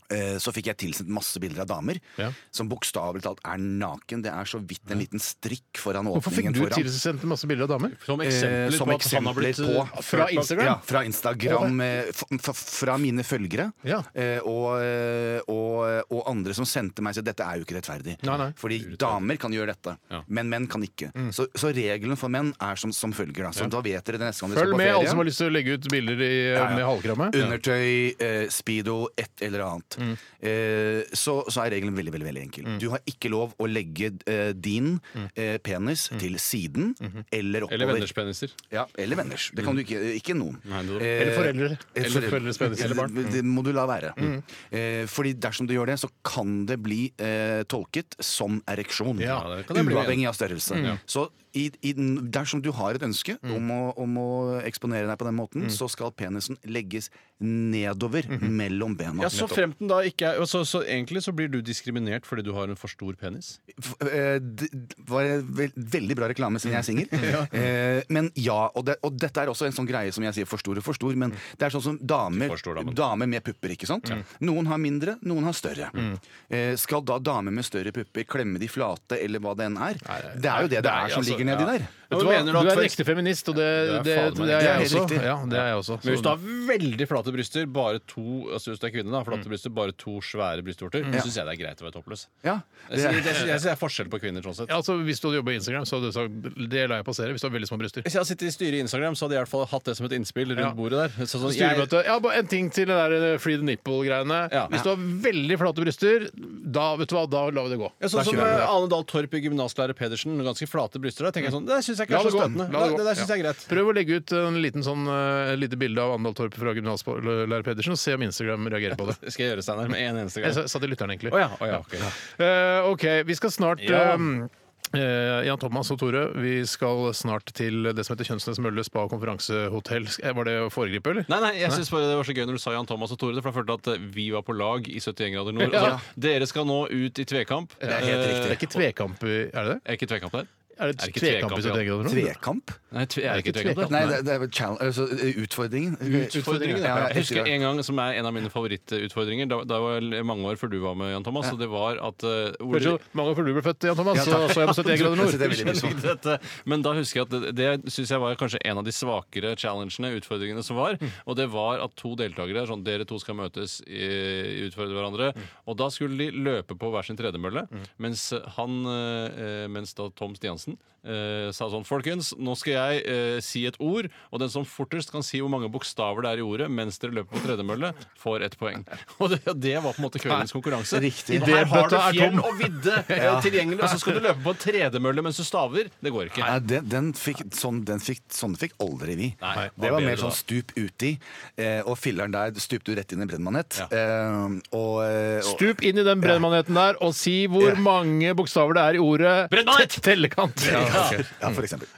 Eh, Så fikk jeg tilsendt masse bilder av damer Ja. som bokstavelig talt er naken. Det er så vidt en liten strikk foran Hvorfor fikk åpningen. du foran. tilsendt masse bilder av damer? Som Eh, eksempler som på at han har eksempler blitt på eh, fra ført bak- Instagram. Ja, fra Instagram. eh, f- f- Fra mine følgere. Ja. eh, Og, eh, og, og andre som sendte meg så dette er jo ikke rettferdig. Nei, nei. Fordi damer kan gjøre dette, Ja. men menn kan ikke. Så, så regelen for menn er som, som følger. Da. Så da vet dere det neste gang dere skal Følg på med, ferie. alle som har lyst til å legge ut bilder i, med halvkramme. Undertøy, eh, speedo, et eller annet. Eh, så, så er regelen veldig veldig, veldig enkel. Du har ikke lov å legge eh, din eh, penis til siden eller oppover. Eller venners peniser. Ja, eller venners. Det kan du ikke. Ikke noen. Nei, det- Eh, Eller foreldre. Mm. eller Eller foreldres penis. Eller barn. Det må du la være. Mm. Eh, fordi dersom du gjør det, så kan det bli eh, tolket som ereksjon. Ja, det kan det bli. Mm. Uavhengig av størrelse. Så i, i, den- dersom du har et ønske om, å, om å eksponere deg på den Mm. måten, så skal penisen legges nedover mellom bena. Mm-hmm. Ja, så fremt den da ikke er så, så egentlig så blir du diskriminert fordi du har en for stor penis. F- eh, Det var en vel- veldig bra reklame siden jeg er singel. Eh, Men ja, og, det, og dette er også en sånn greie som jeg sier for stor og for stor, men det er sånn som damer, Mm. For stor, da, men- damer med pupper, ikke sant? Noen har mindre, noen har større. Mm. Eh, Skal da damer med større pupper klemme de flate, eller hva det enn er? Det er jo det det er som altså, ligger nedi ja. der. Vet Du, du hva? er- Du du er er en ekte- ekte feminist, og det, det, Det det, er faen meg- er Det er jeg helt også. riktig. Ja, det er jeg også. Men hvis du Så- har veldig flate bryster, bare to altså hvis du er kvinne da, Mm. flate bryster, bare to svære brystvorter, så syns jeg det er greit å være toppløs. Ja, Mm. Jeg det sier- er, jeg sier- jeg sier det er forskjell på kvinner sånn sett. Ja, altså, hvis du hadde jobba i Instagram, så hadde du sagt det lar jeg passere. Hvis du har veldig små bryster. Hvis jeg hadde sittet i styret i Instagram, så hadde jeg i hvert fall hatt det som et innspill rundt Ja. bordet der. Så, sånn, jeg, Styremøte. Ja, bare en ting til det der eh, free the nipple-greiene. Ja. Hvis du har veldig flate bryster, da vet du hva, da lar vi det gå. ja, sånn Da som kjører vi eh, det. Ane Dahl Torp i gymnaslærer Pedersen, ganske flate bryster der, tenker jeg sånn Det syns jeg ikke La er det så gå. støtende. La Det, gå. det der syns Ja. jeg er greit. Prøv å legge ut en liten sånn, eh, lite bilde av Andal Torp fra gymnaslærer Pedersen, og se om Instagram reagerer på det. Det skal jeg gjøre, Steinar, med en eneste Jeg gang. sa sa til lytteren, egentlig. Å ja, å ja, ok. Eh, OK, vi skal snart Ja. ehm, eh, Jan Thomas og Tore, vi skal snart til det som heter Kjønnsnes Mølle spa og konferansehotell. Eh, Var det å foregripe, eller? Nei, nei, jeg synes bare det var så gøy når du sa Jan Thomas og Tore. det, For jeg følte at eh, vi var på lag i 71 grader nord. Ja. Altså, dere skal nå ut i tvekamp. Eh, det er helt Det riktig. er ikke tvekamp i Er det det? Er ikke tvekamp der? Er det, Er det ikke tvekamp, tvekamp, i 71 grader nå? Trekamp? Nei, tve, er det ikke tvekamp? tvekamp der? Nei, det, det er vel challenge, altså, utfordringen. Utfordringen, Ja, ja. ja, Jeg husker riktig. en gang som er en av mine favorittutfordringer. Da, da var jeg mange år før du var med, Jan Thomas. Og det var at eh, Hørte Ole- du Mange år før du ble født, Jan Thomas, Ja, så takk. så Det jeg på 71 grader er nord. veldig mye sånn. Dette. Men da husker jeg at det, det synes jeg var kanskje en av de svakere challengene, utfordringene som var. Mm. Og det var at to deltakere sånn, Dere to skal møtes, i- utfordre hverandre. Mm. Og da skulle de løpe på hver sin tredemølle, mens han eh, Mens da Tom Stiansen eh, sa sånn Folkens, nå skal jeg eh, si et ord, og den som fortest kan si hvor mange bokstaver det er i ordet mens dere løper på tredemølle, får ett poeng. Og det, det var på en måte kveldens konkurranse. Riktig. Og Her har du Idébøtta er fjell tom. og vidde eh, tilgjengelig, og så skal du løpe på en tredemølle mens du staver. Det går ikke. Nei, den, den fikk, sånn, den fikk, sånn fikk aldri vi. Nei, det hva var ble mer det sånn da? stup uti, eh, og filleren der stupte jo rett inn i brennmanett. Ja. Eh, og, eh, og- Stup inn i den brennmaneten der og si hvor Ja. mange bokstaver det er i ordet Brennmanet! te- Tellekant! Ja, for eksempel.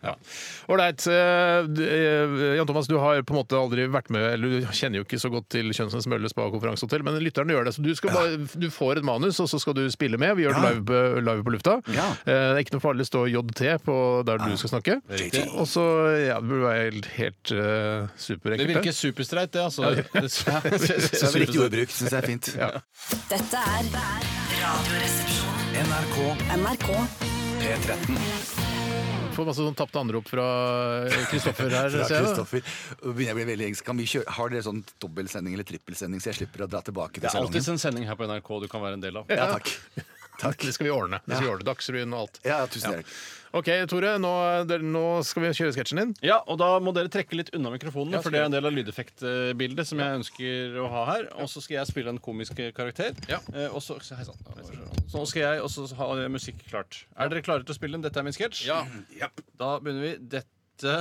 Ålreit. eh, d- eh, Jan Thomas, du har på en måte aldri vært med Eller du kjenner jo ikke så godt til Kjønnsnes Mølle spa- og konferansehotell, men lytterne gjør det. Så du, skal bare, du får et manus, og så skal du spille med. Vi gjør det Ja. live, på- live på lufta. Ja. Eh, Det er ikke noe farlig å stå JT på der du skal snakke. Eh, Riktig. Og så Ja, det burde være helt, helt eh, superekkelt. Det virker superstreit, det, altså. Så det er riktig ordbruk, syns jeg er fint. Dette er Radioresepsjonen. NRK NRK P13. Får masse sånn tapte anrop fra Kristoffer her. Fra ser jeg da. Kristoffer. Og begynner jeg å bli veldig engstelig. Kan vi kjøre- Har dere sånn dobbeltsending eller trippelsending, så jeg slipper å dra tilbake til Det er salongen? alltid sånn. en sending her på NRK du kan være en del av. Ja, takk. Takk. Det skal vi ordne. Det skal vi ordne. Dagsrevyen og alt. Ja, tusen takk. OK, Tore, nå, det, nå skal vi kjøre sketsjen din. Ja, og da må dere trekke litt unna mikrofonene, Ja, for det er en del av lydeffektbildet som jeg ønsker å ha her. Og så skal jeg spille en komisk karakter. Ja. Eh, Og så hei sann. Så nå skal jeg også ha musikk klart. Er dere klare til å spille den? Dette er min sketsj. Da begynner vi. Dette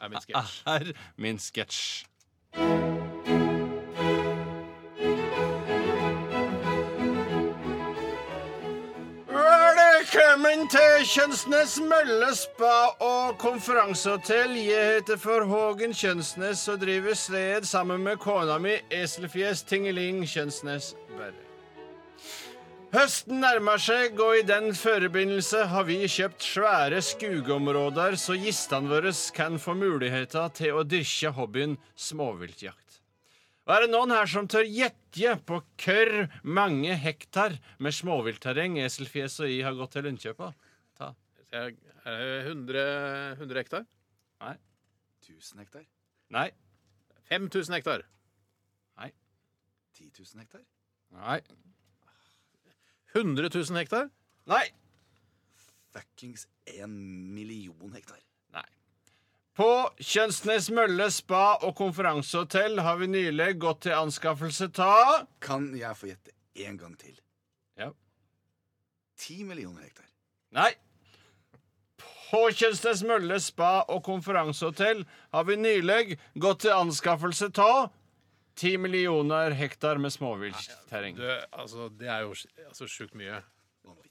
er min sketsj. Er min sketsj. Velkommen til Kjønsnes Mølle spa og konferansehotell. Jeg heter for Hågen Kjønsnes og driver stedet sammen med kona mi Eselfjes Tingeling Kjønsnes Berre. Høsten nærmer seg, og i den forbindelse har vi kjøpt svære skogområder, så gjestene våre kan få muligheter til å dyrke hobbyen småviltjakt. Og er det noen her som tør gjette på hvor mange hektar med småviltterreng Eselfjes og jeg har gått til Lundkjøpa? Ta. 100, eh, hektar? Tusen hektar? Nei. 5000 hektar. 10 000 hektar? Nei. 100 000 hektar? Nei. Fuckings 1 million hektar. På Kjønsnes Mølle spa og konferansehotell har vi nylig gått til anskaffelse av Kan jeg få gjette en gang til? Ja. 10 millioner hektar. Nei. På Kjønsnes Mølle spa og konferansehotell har vi nylig gått til anskaffelse av ti millioner hektar med småviltterreng. altså, det er jo altså, sjukt mye. Vanvittig.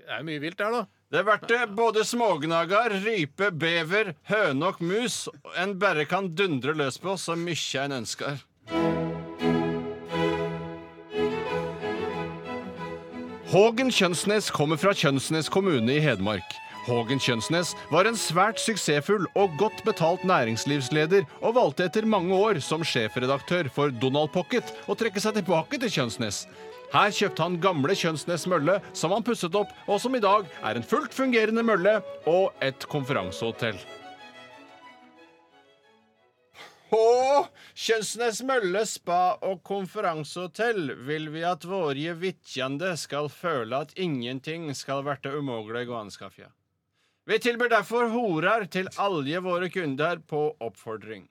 Det er mye vilt der, da. Det ble både smågnager, rype, bever, høne og mus en bare kan dundre løs på så mye en ønsker. Hågen Kjønsnes kommer fra Kjønsnes kommune i Hedmark. Hågen Kjønsnes var en svært suksessfull og godt betalt næringslivsleder, og valgte etter mange år som sjefredaktør for Donald Pocket å trekke seg tilbake til Kjønsnes. Her kjøpte han gamle Kjønsnes mølle, som han pusset opp, og som i dag er en fullt fungerende mølle og et konferansehotell. På Kjønsnes Mølle spa og konferansehotell vil vi at våre vitjande skal føle at ingenting skal verte umulig å anskaffe. Vi tilbyr derfor horer til alle våre kunder på oppfordring.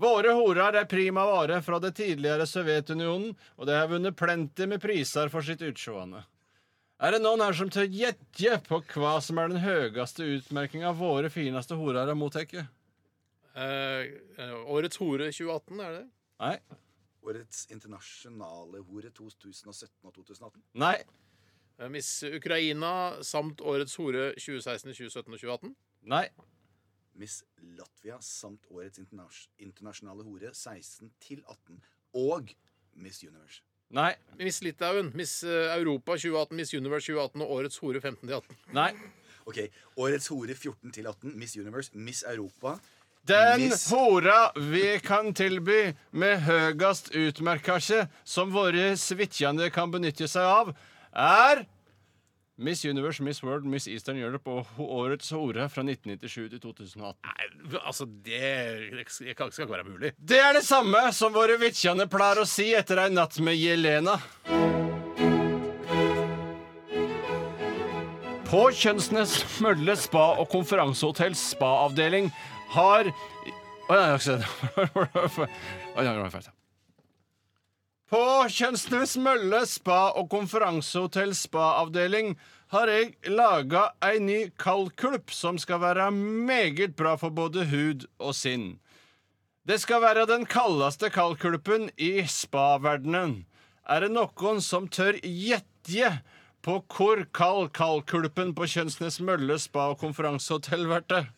Våre horer er prima vare fra det tidligere Sovjetunionen, og de har vunnet plenty med priser for sitt utseende. Er det noen her som tør gjette på hva som er den høyeste utmerkinga våre fineste horer har mottatt? Eh, årets hore 2018, er det? Nei? Årets internasjonale hore 2017 og 2018. Nei? Eh, Miss Ukraina samt årets hore 2016, 2017 og 2018. Nei? Miss Latvia samt Årets internas internasjonale hore 16 til 18. Og Miss Universe. Nei. Miss Litauen, Miss eh, Europa 2018, Miss Universe 2018 og årets hore 15 til 18. Nei. Ok, Årets hore 14 til 18. Miss Universe, Miss Europa. Den Miss- hora vi kan tilby med høyest utmerkelse, som våre svitjende kan benytte seg av, er Miss Universe, Miss World, Miss Eastern Europe og ho- årets hore fra 1997 til 2018. Nei, altså, det, det skal skal ikke være mulig. Det er det samme som våre vitjende pleier å si etter ei natt med Jelena. På Kjønnsnes Mølle spa- og konferansehotells spaavdeling har Å ja, jeg har ikke sett Å, ja, nå er jeg ferdig. På Kjønnsnes Mølle spa- og konferansehotells spaavdeling har jeg laga ei ny kaldkulp som skal være meget bra for både hud og sinn. Det skal være den kaldeste kaldkulpen i spaverdenen. Er det noen som tør gjette på hvor kald kaldkulpen på Kjønnsnes Mølle spa- og konferansehotell blir?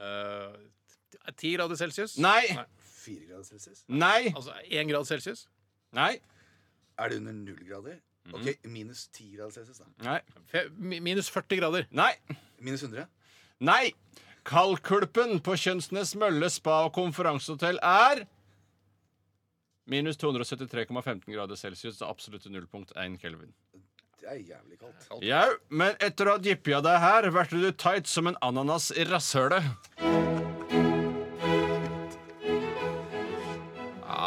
Eh, Ti grader celsius? Nei. Fire grader celsius? Nei. Altså én grad celsius? Nei. Er det under null grader? Mhm. Ok, Minus ti grader celsius, da. Nei. Fe- mi- Minus 40 grader. Nei. Minus 100? Nei. Kaldkulpen på Kjønnsnes Mølle spa- og konferansehotell er Minus 273,15 grader celsius. Det absolutte nullpunkt 1 kelvin. Det er jævlig kaldt. Jau, men etter å ha dyppja deg her, verte du tight som en ananas i rasshølet.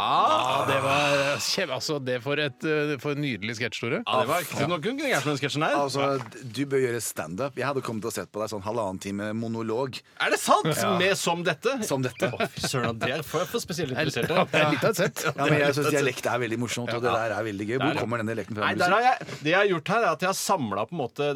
Ja, det var eh, kjem, Altså, det for et eh, for en nydelig sketsj, Tore. Ja, det var ikke noe kunne gærent med den sketsjen her. Altså, Du bør gjøre standup. Jeg hadde kommet og sett på deg sånn halvannen time monolog Er det sant? Med som dette? som dette. Å, fy søren, det er for, for spesielt interesserte. Ja, det er litt av et sett. Ja, men jeg syns dialekt er veldig morsomt, og det der er veldig gøy. Hvor kommer den dialekten fra? Nei, der har jeg, det jeg har gjort her, er at jeg har samla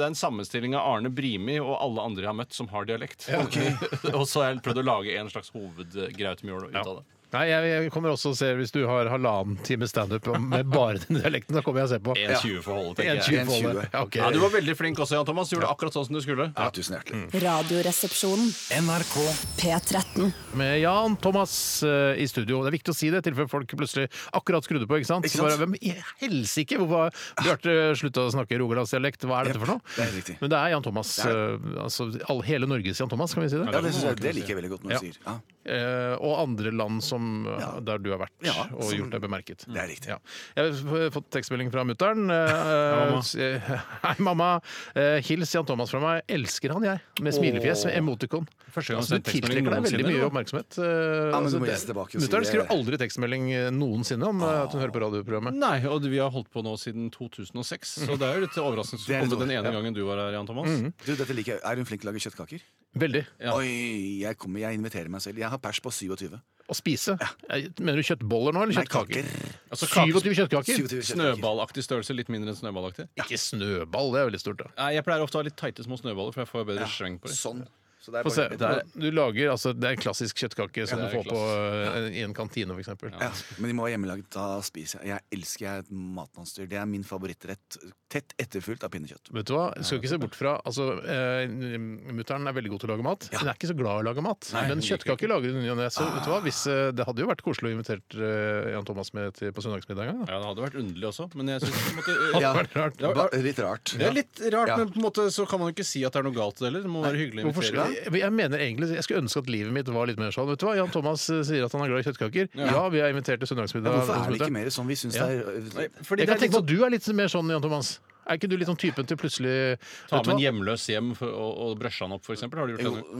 den sammenstillinga Arne Brimi og alle andre jeg har møtt som har dialekt. og så har jeg prøvd å lage en slags hovedgrautmjøl ut av det. Nei, jeg, jeg kommer også og ser hvis du har halvannen time standup om- med bare den dialekten. Da kommer jeg og ser på. 1,20 for holdet, En tenker jeg. 20 på det. Ja, ok. Ja, du var veldig flink også, Jan Thomas. Gjorde akkurat sånn som du skulle. Ja, tusen Mm. hjertelig. Radioresepsjonen. NRK. P13. Med Jan Thomas eh, i studio. Det er viktig å si det, i tilfelle folk plutselig akkurat skrudde på. ikke sant? Ikke Så sant? bare, Hvem i helsike? Hvorfor har Bjarte slutta å snakke rogalandsdialekt? Hva er dette for noe? det er riktig. Men det er Jan Thomas. eh, altså, all, hele Norges Jan Thomas, kan vi si det? Ja, det, synes jeg, det liker jeg veldig godt når du sier. Ja, Eh, og andre land som, eh, der du har vært Ja, og som- gjort deg bemerket. det er riktig. Ja. Jeg har f- fått tekstmelding fra mutter'n. eh, Hei, mamma. Eh, hils Jan Thomas fra meg. Elsker han, jeg. Med smilefjes, med emotikon. Første gang jeg har altså, sett du tekstmelding tiltrekker deg veldig noensinne, mye da. oppmerksomhet. eh, Ja, men du må lese tilbake og si Mutter'n det. skriver aldri tekstmelding eh, noensinne om eh, at hun hører på radioprogrammet. Nei, og vi har holdt på nå siden 2006, så det er jo litt overraskende Det er å komme litt Mhm. den ene gangen du var her, Jan Thomas. Du, dette liker jeg. Er hun flink til å lage kjøttkaker? Veldig. Ja. Oi, jeg kommer, jeg inviterer meg selv. Jeg har pers på 27. Å spise. Eh, Mener du kjøttboller nå, eller Nei, kjøttkaker? Altså, kake- 27 kjøttkaker? 27 kjøttkaker. Snøballaktig størrelse, litt mindre enn snøballaktig. Ikke snøball, det er veldig stort, da. Nei, Jeg pleier ofte å ha litt teite små snøballer, for jeg får bedre sveng på dem. Sånn. Så det er Få se. bare- Du lager, altså, det er en klassisk kjøttkake som Ja, det er du får på eh, i en kantine, f.eks. Ja, men de må være hjemmelaget. Da spiser jeg. Jeg elsker jeg et matmonster. Det er min favorittrett. Tett etterfulgt av pinnekjøtt. Vet du hva, jeg skal ikke se bort fra altså, eh, Mutter'n er veldig god til å lage mat. Hun er ikke så glad i å lage mat, men kjøttkaker lager hun i og ne. Så vet du hva, hvis, eh, det hadde jo vært koselig å invitert eh, Jan Thomas med til, på søndagsmiddag en gang. Ja, Da. Det hadde vært underlig også, men jeg synes på en måte Ja, vært rart. ba- litt rart. Det er litt rart, Ja. men på en måte så kan man jo ikke si at det er noe galt heller. Det må være hyggelig å Hvorfor invitere. skal, jeg, jeg mener egentlig, jeg skulle ønske at livet mitt var litt mer sånn. Vet du hva, Jan Thomas eh, sier at han er glad i kjøttkaker. Ja, vi er invitert Ja, til søndagsmiddag. Hvorfor er det ikke hos mutter'n. mer sånn vi syns Ja. det er Fordi det er Jeg kan litt tenke meg sånn at du er litt mer sånn, Jan Thomas. Er ikke du litt sånn typen til plutselig Ta Vet med en du hva? hjemløs hjem for, og, og brøsje han opp, for eksempel. Har du gjort Jo, det? nå?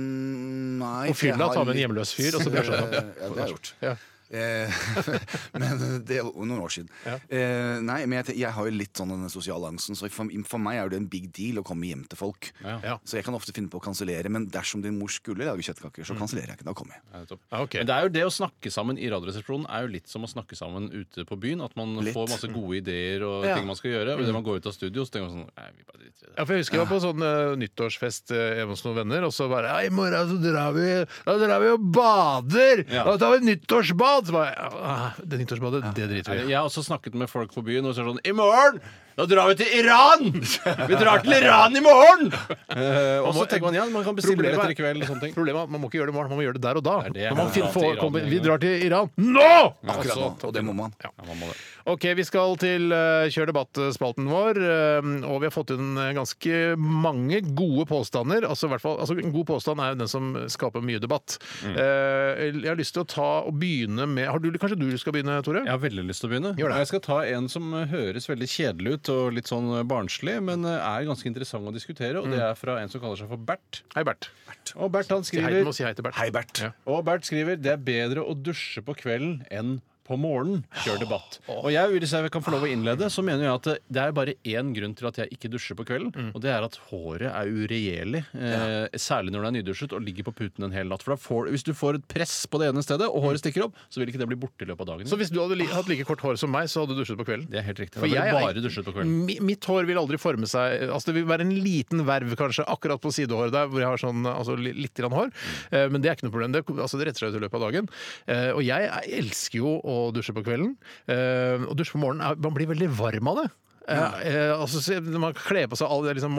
mm, nei Og fylla, jeg har ta med en litt- hjemløs fyr, og så sånn. brusher han Eh, opp. Ja, det har jeg gjort. Ja. Eh, men det er jo noen år siden. Eh, nei, men jeg, ten- jeg har jo litt sånn den sosiale angsten, så for, for meg er det en big deal å komme hjem til folk. Ja. Så jeg kan ofte finne på å kansellere, men dersom din mor skulle lage kjøttkaker, Mm. så kansellerer jeg ikke. Da kommer jeg. Nei, nettopp. Ja, ok. Men det er jo det å snakke sammen i Radioresepsjonen er jo litt som å snakke sammen ute på byen. At man Litt. får masse gode ideer og Ja. Mm. ting man skal gjøre. Og idet man går ut av studio, så tenker man sånn Nei, vi bare driter i det. Ja, for Jeg husker jeg var på sånn eh, nyttårsfest eh, hjemme hos noen venner, og så bare «Ja, I morgen så drar vi, da drar vi og bader! Ja. Da tar vi et nyttårsbad! Så bare, «Ah, det nyttårsbadet, det driter vi i. Eh, Jeg har også snakket med folk på byen, og så er det sånn I morgen! Da drar vi til Iran! Vi drar til Iran i morgen! Eh, og så tenker man ja, man kan bestille Problemet er- billetter i kveld og sånn. sånne ting. Problemet er at Man må ikke gjøre det i morgen, man må gjøre det der og da. Det er det jeg Når man har finner, dra til får, Iran kommer, en vi gang. drar til Iran nå! Akkurat nå, og det må man. Ja, man må det. Ok, vi skal til eh, Kjør debatt-spalten vår, eh, og vi har fått inn eh, ganske mange gode påstander. Altså, i hvert fall, altså En god påstand er jo den som skaper mye debatt. Eh, jeg har lyst til å ta og begynne med har du, Kanskje du skal begynne, Tore? Jeg har veldig lyst til å begynne. Gjør det. Og Jeg skal ta en som eh, høres veldig kjedelig ut og litt sånn eh, barnslig, men eh, er ganske interessant å diskutere, og det er fra en som kaller seg for Bert. Hei, Bert. Og Bert han Si hei, du skriver, må si hei til Bert. Hei, Bert. Ja. og Bert skriver det er bedre å dusje på kvelden enn på morgenen kjør debatt. Og jeg, hvis jeg kan få lov å innlede, så mener jeg at eh, det er bare én grunn til at jeg ikke dusjer på kvelden, og det er at håret er uregjerlig. Eh, Særlig når det er nydusjet og ligger på puten en hel natt. For da får, hvis du får et press på det ene stedet, og håret stikker opp, så vil ikke det bli borte i løpet av dagen. Så hvis du hadde li hatt like kort hår som meg, så hadde du dusjet på kvelden? Det er helt riktig. For Da ville du jeg er- Mm. bare dusjet på kvelden. Mi, mitt hår vil aldri forme seg Altså Det vil være en liten verv kanskje akkurat på sidehåret der, hvor jeg har sånn altså, li- litt grann hår. Mm. Eh, Men det er ikke noe problem. Det, altså, det retter seg ut i løpet av dagen. Eh, Og jeg er- elsker jo å dusje på kvelden. Eh, Og dusje på morgenen er, Man blir veldig varm av det. Eh, eh, altså, se- når man kler på seg all det liksom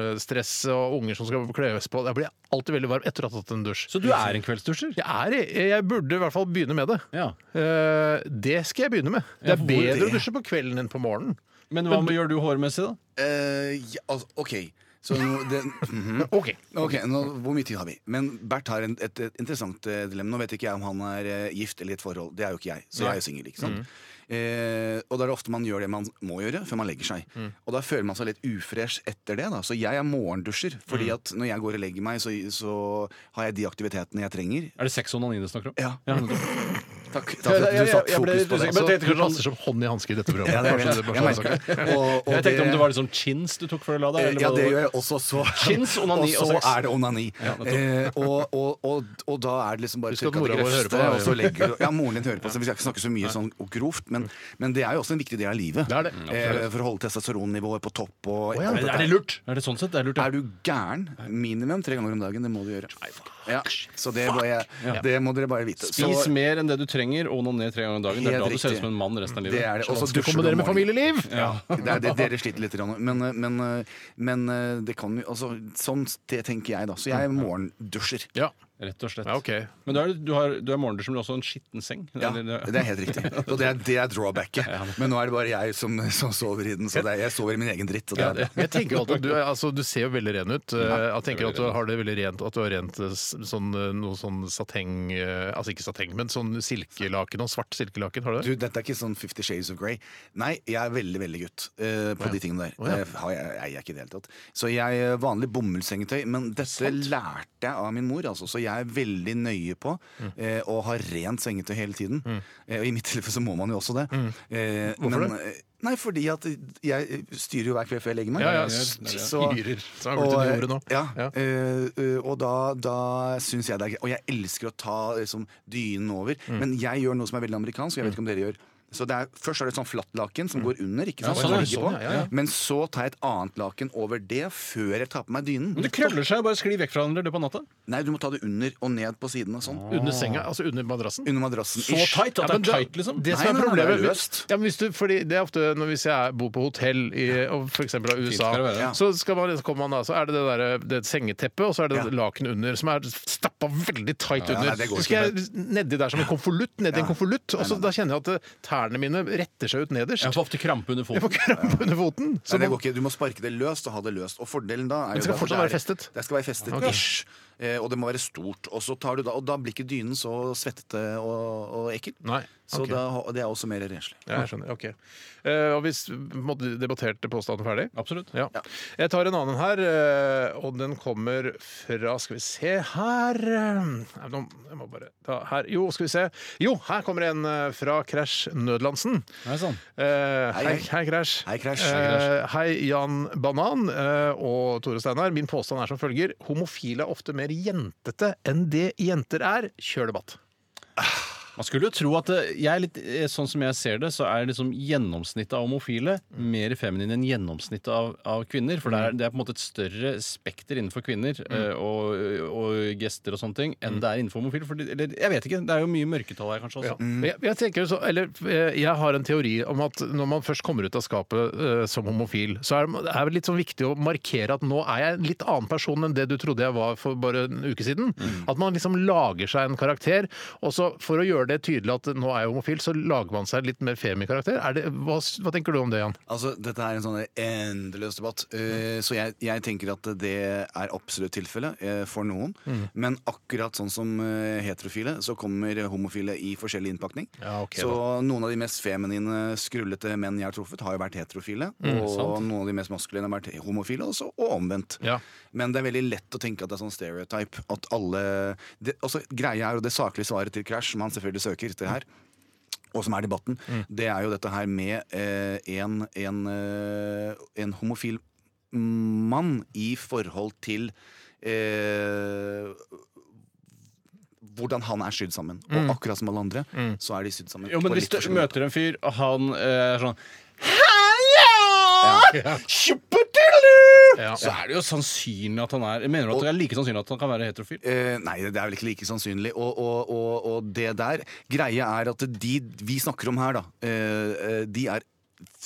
morgenstresset og unger som skal kles på. Jeg blir alltid veldig varm etter å ha tatt en dusj. Så du er en kveldsdusjer? Jeg, er, i- jeg burde i hvert fall begynne med det. Ja. Eh, det skal jeg begynne med. Det Ja, er hvor bedre å det? dusje på kvelden enn på morgenen. Men hva gjør du hårmessig, da? Eh, ja, altså, OK. Så nå- det, mhm. Ok Ok, nå, Hvor mye tid har vi? Men Bert har en, et, et interessant eh, dilemma. Nå vet ikke jeg om han er eh, gift eller i et forhold. Det er jo ikke jeg. Så jeg er jo singel. ikke sant? Mm. Eh, og da er det ofte man gjør det man må gjøre før man legger seg. Mm. Og da føler man seg litt ufresh etter det. da Så jeg er morgendusjer. Mm. Fordi at når jeg går og legger meg, så, så har jeg de aktivitetene jeg trenger. Er det sex og onani du snakker om? Ja, Takk, takk for Ja, at ja, du ja, satte jeg ble fokus litt på det. usikker, men Så- jeg tenkte kanskje det passer som hånd i hanske i dette programmet. Ja, det er det. Kanskje det bare Jeg sånn merker sak. det. Og- og Jeg tenkte det- om det Eh, var liksom chins du tok for å la deg? Ja, eller hva det var? gjør jeg også. Så, Chins, og onani og så sex. er det onani. eh, og, og, og, og da er det liksom bare Husk at trykk av det mora vår hører grøvste, på deg, og så ja. legger du- Ja, moren din hører på, så vi skal ikke snakke så mye sånn grovt, men, men det er jo også en viktig del av livet. Det er det. Eh, for å holde testosteronnivået på topp og ja, alt Er dette. er det lurt? Er det sånn sett? Det er lurt, ja. Er du gæren? Minimum tre ganger om dagen. Det må du gjøre. Ja, så det, må jeg, det må dere bare vite. Så, Spis mer enn det du trenger, og onaner tre ganger om dagen. Det er Helt da du ser riktig. ut som en mann resten av det livet. er det. Og så Altså, Du dusjer du om kombinerer med morgenen. familieliv! Det er det, dere sliter litt, grann. men, eh, men, men det kan jo altså, Sånn det tenker jeg, da. Så jeg er morgendusjer. Ja. Rett og slett. Ja, ok. Men du er, du har, du er morgendusj, men du har også en skitten seng. Ja, Eller- det er helt riktig. Og det er, det er drawbacket. Men nå er det bare jeg som, som sover i den, så det er, jeg sover i min egen dritt. Og det er det. Jeg tenker jo alltid, at du, er- altså, du ser jo veldig ren ut. Eh, Jeg tenker at du har det veldig rent At du har rent eh, s- sånn, eh, noe sånn sateng eh, Altså ikke sateng, men sånn silkelaken og svart silkelaken. Har Du, du det? dette er ikke sånn Fifty Shades of Grey. Nei, jeg er veldig veldig gutt eh, på de tingene der. Det har jeg, jeg er ikke i det hele tatt. Så jeg er vanlig bomullsengetøy, men dette lærte jeg av min mor, altså. Så jeg er veldig nøye på Mm. eh, å ha rent sengetøy hele tiden. Eh, og i mitt tilfelle så må man jo også det. Mm. Eh, men, eh, Nei, fordi at jeg styrer jo hver kveld før jeg legger meg. Eh, Ja, ja, Så- styrer. Så har det blitt og, en jorde nå. Ja, Ja. eh, eh, og da, da syns jeg det er greit. Og jeg elsker å ta liksom, dynen over. Mm. Men jeg gjør noe som er veldig amerikansk, og jeg vet ikke om dere gjør. Så det er, Først er det et sånn flatt laken som går under, ikke sant? Ja, som sånn, ligger sånn, på. Mm. ja, ja, ja. men så tar jeg et annet laken over det før jeg tar på meg dynen. Men det krøller seg, bare skli vekk fra hverandre i løpet av natta. Nei, du må ta det under og ned på sidene. Sånn. Under senga, altså under madrassen. Under madrassen. Så ish. tight at Ja, men det er da- tight, liksom. Det Nei, som nei, er nei, det problemet er løst. ja, men hvis du, fordi det er ofte når, Hvis jeg bor på hotell i og for eksempel av USA, skal det være. Ja. så, skal man, så kommer man da, så er det det, der, det er et sengeteppe, og så er det Ja. laken under, som er stappa veldig tight Ja, under. nei, det går så skal jeg nedi der som en konvolutt, nedi en konvolutt, og så da kjenner jeg at eh, tærne mine retter seg ut nederst. Jeg får ofte krampe under Jeg foten. får krampe under foten. Nei, Så det går ikke. Du må sparke det løst og ha det løst. Og fordelen da er Men det skal da- fortsatt det er- være festet? Det skal være festet Ok. ish. Eh, og det må være stort. Og, så tar du da, og da blir ikke dynen så svettete og, og ekkel. Nei, Så ok. da, og det er også mer renslig. Ja, jeg skjønner. Ok. Eh, og hvis måtte debatterte påstanden ferdig? Absolutt. Ja. Jeg tar en annen her, eh, og den kommer fra Skal vi se her eh, Nei, nå, Jeg må bare ta her. Jo, skal vi se. Jo, her kommer en eh, fra Crash Nødlandsen. Nei, sånn. Hei, Eh, hei, hei. hei, Crash. Hei, Crash. Eh, Hei, hei, Jan Banan eh, og Tore Steinar. Min påstand er som følger. Homofile er ofte mer jentete enn det jenter er. Kjør debatt. Man skulle jo tro at eh, jeg er litt, eh, sånn som jeg ser det, så er liksom gjennomsnittet av homofile mer feminine enn gjennomsnittet av, av kvinner. For det er, det er på en måte et større spekter innenfor kvinner eh, og, og gester og sånne ting enn det er innenfor homofile. For det, eller, jeg vet ikke, det er jo mye mørketall her kanskje altså. også. Men Jeg, jeg tenker jo så, eller eh, jeg har en teori om at når man først kommer ut av skapet eh, som homofil, så er det er det litt sånn viktig å markere at nå er jeg en litt annen person enn det du trodde jeg var for bare en uke siden. At man liksom lager seg en karakter, og så for å gjøre det tydelig at nå er jeg homofil, så lager man seg litt mer femi-karakter. Er det, hva, hva tenker du om det, Jan? Altså, Dette er en sånn endeløs debatt. Eh, Så jeg, jeg tenker at det er absolutt tilfellet eh, for noen. Mm. Men akkurat sånn som eh, heterofile, så kommer homofile i forskjellig innpakning. Ja, ok, så noen av de mest feminine, skrullete menn jeg har truffet, har jo vært heterofile. Mm, og noen av de mest maskuline har vært homofile, også, og omvendt. Ja. Men det er veldig lett å tenke at det er sånn stereotype. At alle det, altså, Greia er, og det saklige svaret til Crash, som han selvfølgelig søker etter her og som er debatten, det er jo dette her med eh, en, en, eh, en homofil mann i forhold til eh, hvordan han er sydd sammen. Og akkurat som alle andre, så er de sydd sammen. Jo, men på hvis litt du forskjellige måter. møter en fyr, og han eh, er sånn Hallo! Tjuppetilu!" Ja. Så er det jo sannsynlig at han er Jeg Mener du at det er like sannsynlig at han kan være heterofil? Eh, nei, det er vel ikke like sannsynlig. Og, og, og, og det der Greia er at de vi snakker om her, da, eh, eh, de er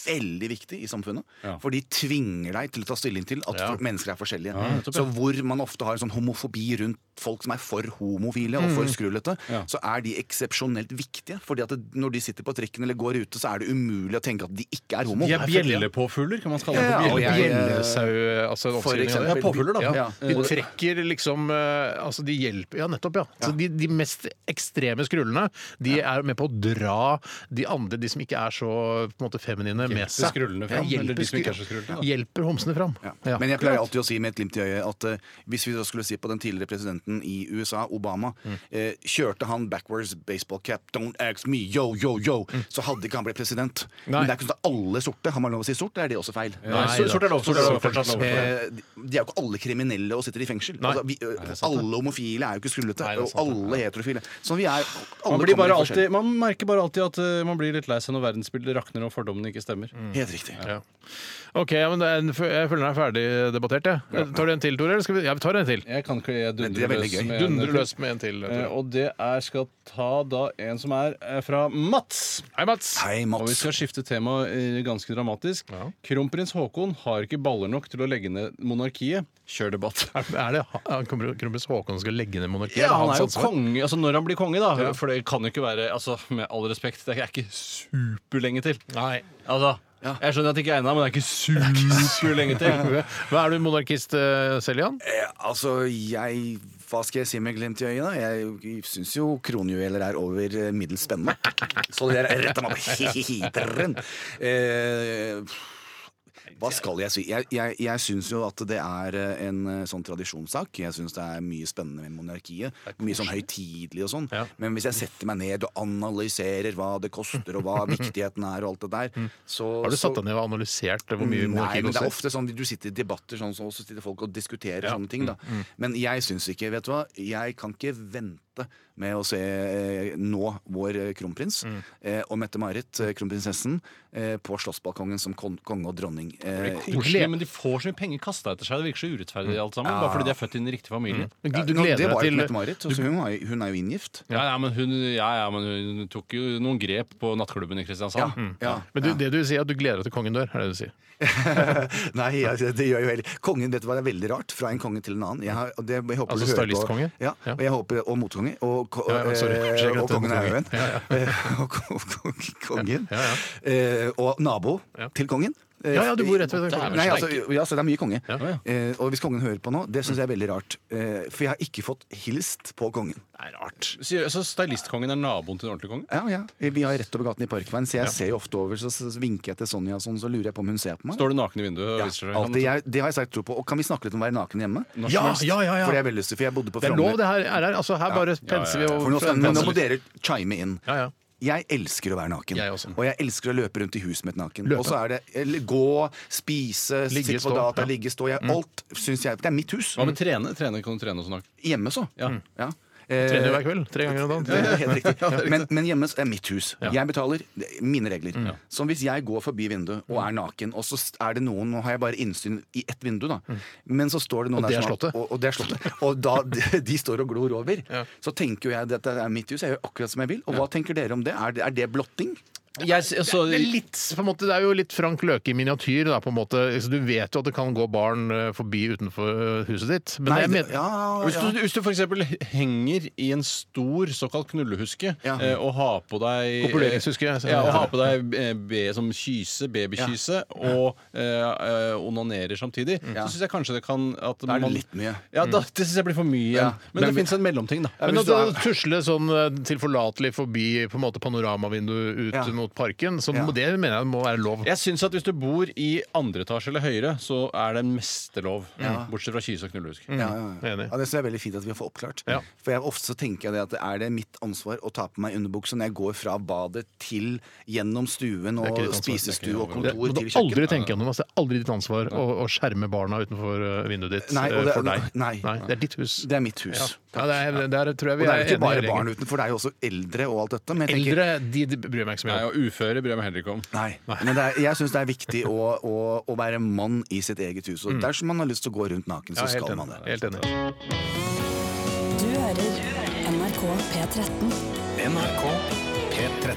veldig viktige i samfunnet. Ja. For de tvinger deg til å ta stilling til at Ja. mennesker er forskjellige. nettopp, ja. så hvor man ofte har en sånn homofobi rundt folk som er for homofile og for skrullete, Mm. Ja. så er de eksepsjonelt viktige. Fordi at det, når de sitter på trikken eller går ute, så er det umulig å tenke at de ikke er homo. De er bjellepåfugler, kan man kalle Ja, dem. og jeg- Bjellesau altså, For en oppskrivning av det. eksempel. Ja, påfugler, da. Ja. Ja. De trekker liksom eh, Altså, de hjelper Ja, nettopp, ja. Så de, de mest ekstreme skrullene, de er med på å dra de andre, de som ikke er så på en måte feminine, med seg. skrullene fram, Ja, eller de som skru- ikke er så skrullete, da. Hjelper homsene fram. Ja. Ja. Men jeg pleier alltid å si med et glimt i øyet at eh, hvis vi da skulle si på den tidligere presidenten i USA, Obama, Mm. eh, kjørte han backwards baseball cap, don't ask me, yo, yo, yo, så hadde ikke han blitt president. Mm. Nei. Men det er ikke sånn at alle sorte har man lov å si sort, eller er det også feil? Nei, Nei, så- da. sort er lov, sort er lov, Sort er fortsatt lov. Eh, de de er jo ikke alle kriminelle og sitter i fengsel. Nei. Altså, vi, eh, alle homofile er jo ikke skrullete, Nei, det er og sant, det. alle heterofile. Så vi er alle Man, kommer blir i bare forskjell. alltid, man merker bare alltid at eh, man blir litt lei seg når verdensbildet rakner og fordommene ikke stemmer. Helt riktig. Ja. OK, ja, men det er en, jeg føler den er ferdig debattert, jeg. Tar du en til, Tore? Eller skal vi, ja, vi tar en til. Jeg kan ikke jeg Men det er dundrer veldig løs gøy. med en- Dundre løs med en til. Eh, Tore. Og det er skal ta da en som er eh, fra Mats. Hei, Mats. Hei, Og vi Mats. skal skifte tema eh, ganske dramatisk. Ja. Kronprins Haakon har ikke baller nok til å legge ned monarkiet. Kjør debatt. Er det han kommer- Kronprins Haakon som skal legge ned monarkiet? Ja, Er det han hans er jo ansvar? konge, altså Når han blir konge, da. For det kan jo ikke være altså, Med all respekt, det er ikke superlenge til. Nei. Altså, Jeg skjønner at det ikke er ennå, men det er ikke superlenge til. Hva er du monarkist eh, selv, Jan? Eh, altså, jeg Hva skal jeg si med glimt i øyet? da? Jeg syns jo kronjuveler er over eh, middels spennende. Så det der retta meg på hiteren. Eh, hva skal jeg si? Jeg, jeg, jeg syns jo at det er eh, en eh, sånn tradisjonssak. Jeg syns det er mye spennende med monarkiet. Mye sånn høytidelig og sånn. Ja. Men hvis jeg setter meg ned og analyserer hva det koster, og hva viktigheten er, og alt det der, så Mm. Har du så- satt deg ned og analysert hvor mye Nei, monarki men det koster? er ofte sånn du sitter i debatter sånn, så så sitter folk og diskuterer sånne ting. Da. Mm. Men jeg syns ikke Vet du hva, jeg kan ikke vente med å se eh, nå vår eh, kronprins Mm. eh, og Mette-Marit, eh, kronprinsessen, eh, på slottsbalkongen som kon konge og dronning. Eh, Koselig, men de får så mye penger kasta etter seg. Det virker så urettferdig alt sammen. Bare fordi de er født i den riktige familien. Du ja, du nå, det var jo gleder deg ikke til Mette-Marit. altså, Hun, var jo- hun er jo inngift. Mm. Ja ja, men hun, ja, ja, men hun tok jo noen grep på nattklubben i Kristiansand. Mm. Mm. ja. men du, det du sier er at du gleder deg til kongen dør, er det du sier. Nei, ja, det det gjør jo heller Kongen, vet du hva, det er veldig rart Fra en konge til en annen jeg har, og det, jeg håper Altså du hører på- stylistkonge? Ja, Ja. og jeg håper Og motkonge Og, ko- Ja, ja, sorry. eh, Skjønner og at det er kongen er jo en motkonge. Eh, Og ko- ko- kongen Eh, Og nabo Ja. til kongen Eh, Ja, ja, du bor rett ved det er kongen. Nei, altså, ja, så det er mye konge Ja. Eh, Og hvis kongen hører på nå, det synes jeg er veldig rart Eh, For jeg har ikke fått hilst på kongen Det er rart. Sier- Så stylistkongen er naboen til den ordentlige kongen? Ja, ja, vi har rett over gaten i parkveien Så jeg ser jo ofte over, så så vinker jeg til Sonja og sånn, Så lurer jeg på om hun ser på meg Står du naken i vinduet? og ja, viser seg? alltid, jeg, det har jeg sterk tro på. Og kan vi snakke litt om å være naken hjemme? Ja, ja, ja, ja. For det har jeg veldig lyst til, for jeg bodde på Det er Frogner. lov, det her. Er her. Altså, her bare penser vi og For nå, skal, men nå må dere chime inn. Ja, ja. Jeg elsker å være naken. Jeg også. Og jeg elsker å løpe rundt i huset mitt naken. Løpe. Og så er det eller, gå, spise, Ligge, sitte på stå. data, Ja. Mm. ligge, stå. Jeg, alt syns jeg Det er mitt hus. Hva med trene? trene? Kan du trene og sånn? Hjemme, så. Ja. Ja. Eh, Trener jo hver kveld. Tre ganger om det dagen. er Helt riktig. Men, men hjemme så er mitt hus. Jeg betaler det er mine regler. Så hvis jeg går forbi vinduet og er naken, og så er det noen Nå har jeg bare innsyn i ett vindu, da. Men så står det noen Og der det er som har- slottet. Og, og det er slottet. Og da de, de står og glor over, så tenker jo jeg at dette er mitt hus, jeg gjør akkurat som jeg vil. Og hva tenker dere om det? Er, det- er det blotting? Jeg, s- altså, jeg så, Det er, litt, på en måte, det er jo litt Frank Løke i miniatyr. Da, på en måte. Så Du vet jo at det kan gå barn eh, forbi utenfor eh, huset ditt. Men Nei, jeg det- mener- ja, hvis ja. du, hvis du for eksempel henger i en stor såkalt knullehuske Ja. eh, og har på deg eh, Kopuleringshuske, jeg ser ja, og det. har på deg eh, be, som kyse, babykyse, og eh, eh, onanerer samtidig, Mm. Ja. så syns jeg kanskje det kan at Da er det man- litt mye. Ja, da, det syns jeg blir for mye igjen. Ja. Men, Men det vi- fins en mellomting, da. Ja, Men hvis at du det er- tusle sånn eh, tilforlatelig forbi på en måte panoramavinduet ut Ja. mot parken, så Ja. må- det mener jeg må være lov. Jeg syns at hvis du bor i andre etasje eller høyere, så er det meste lov. Bortsett fra kyse og knullehusk. Ja, ja, ja. Enig. ja, det synes jeg er veldig fint at vi har fått oppklart. Ja. For jeg, ofte så tenker jeg det at er det mitt ansvar å ta på meg underbukse når jeg går fra badet til gjennom stuen Det er ikke og ditt ansvar, spisestue og Det, kontor men du til aldri kjøkken? tenke gjennom det. altså. Det er aldri ditt ansvar å, å skjerme barna utenfor eh, vinduet ditt Nei, og eh, det- for deg. nei. det er ditt hus. Det er mitt hus. ja. Ja, det er, der tror Og jeg vi det er jo ikke bare enige i barn regel. utenfor, det er jo også eldre og alt dette. Men jeg tenker, Eldre de, de bryr meg ikke så Nei, mye om. og uføre bryr jeg meg heller ikke om. Nei, men det er, jeg syns det er viktig å, å, å være mann i sitt eget hus. Og dersom man har lyst til å gå rundt naken, Mm. Ja, så helt skal man enig. det. Helt enig. Du hører NRK P13. NRK P13.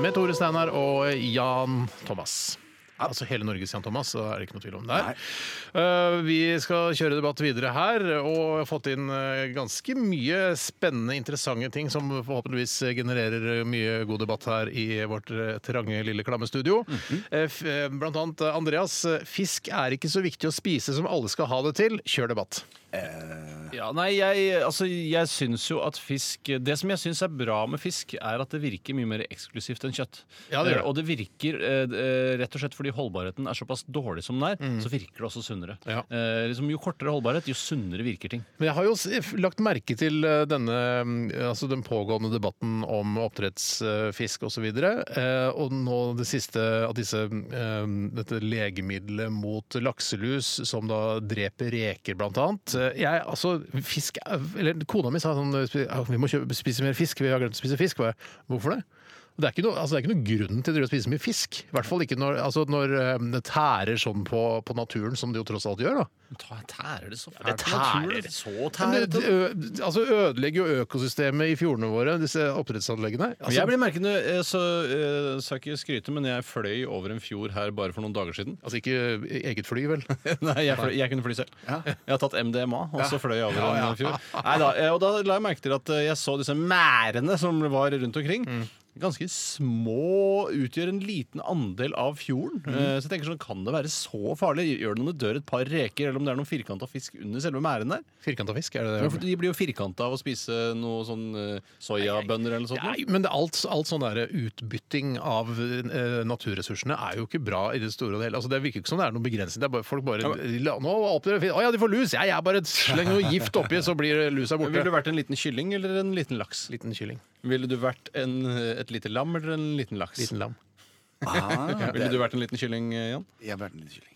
Med Tore Steinar og Jan Thomas. Altså hele Norges Jan Thomas, så er det ikke noe tvil om det. her. Eh, vi skal kjøre debatt videre her, og har fått inn eh, ganske mye spennende, interessante ting som forhåpentligvis genererer mye god debatt her i vårt eh, trange, lille, klamme studio. Eh, f- eh, blant annet eh, Andreas. eh, Fisk er ikke så viktig å spise som alle skal ha det til. Kjør debatt. Ja, nei, jeg, altså, jeg syns jo at fisk Det som jeg syns er bra med fisk, er at det virker mye mer eksklusivt enn kjøtt. Ja, det gjør det. Eh, Og det virker eh, eh, rett og slett fordi holdbarheten er såpass dårlig som den er, så virker det også sunnere. Mm. Ja. Eh, liksom, jo kortere holdbarhet, jo sunnere virker ting. Men jeg har jo s- f- lagt merke til eh, denne, mm, altså den pågående debatten om oppdrettsfisk osv. eh, Og nå det siste at disse, eh, dette legemiddelet mot lakselus som da dreper reker, blant annet. Eh, Jeg, altså, fisk er- Eller kona mi sa sånn spi- «Ja, Vi må kjøpe, spise mer fisk, vi har glemt å spise fisk. Hva- Hvorfor det? Det er, ikke noe, altså det er ikke noe grunn til å drive og spise mye fisk. I hvert fall ikke når, altså når eh, det tærer sånn på, på naturen, som det jo tross alt gjør. da. Tærer det så fælt? Det tærer. Så Men tærer det ø- altså ødelegger jo økosystemet i fjordene våre, disse oppdrettsanleggene. Altså, jeg ble merkende, eh, så eh, skal jeg ikke skryte, men jeg fløy over en fjord her bare for noen dager siden. altså ikke i eget fly, vel? Nei, jeg, fløy, jeg kunne fly selv. Jeg har tatt MDMA, og så fløy jeg over en fjord. Neida, eh, og da la jeg merke til at eh, jeg så disse mærene som var rundt omkring. Mm. Ganske små, utgjør en liten andel av fjorden. Mm. Eh, Så jeg tenker sånn, Kan det være så farlig? Gjør det om det dør et par reker, eller om det er noen firkanta fisk under selve mæren der? Firkanta fisk, er det Ja, for det? De blir jo firkanta av å spise noe sånn eh, soyabønner eller noe sånt. Nei, men det, alt, alt sånn der utbytting av eh, naturressursene er jo ikke bra i det store og det hele. Altså, det virker ikke som det er noen begrensning. Det er bare, folk bare la, nå oppdretter fisk. Å ja, de får lus! Ja, jeg bare slenger noe gift oppi, så blir lusa Ville du borte. vært en liten kylling eller en liten laks? Liten kylling. Ville du vært en, eh, et lite lam eller en liten laks? Liten lam. Ah, Ville du vært en liten kylling, eh, Jan? jeg har vært en liten kylling.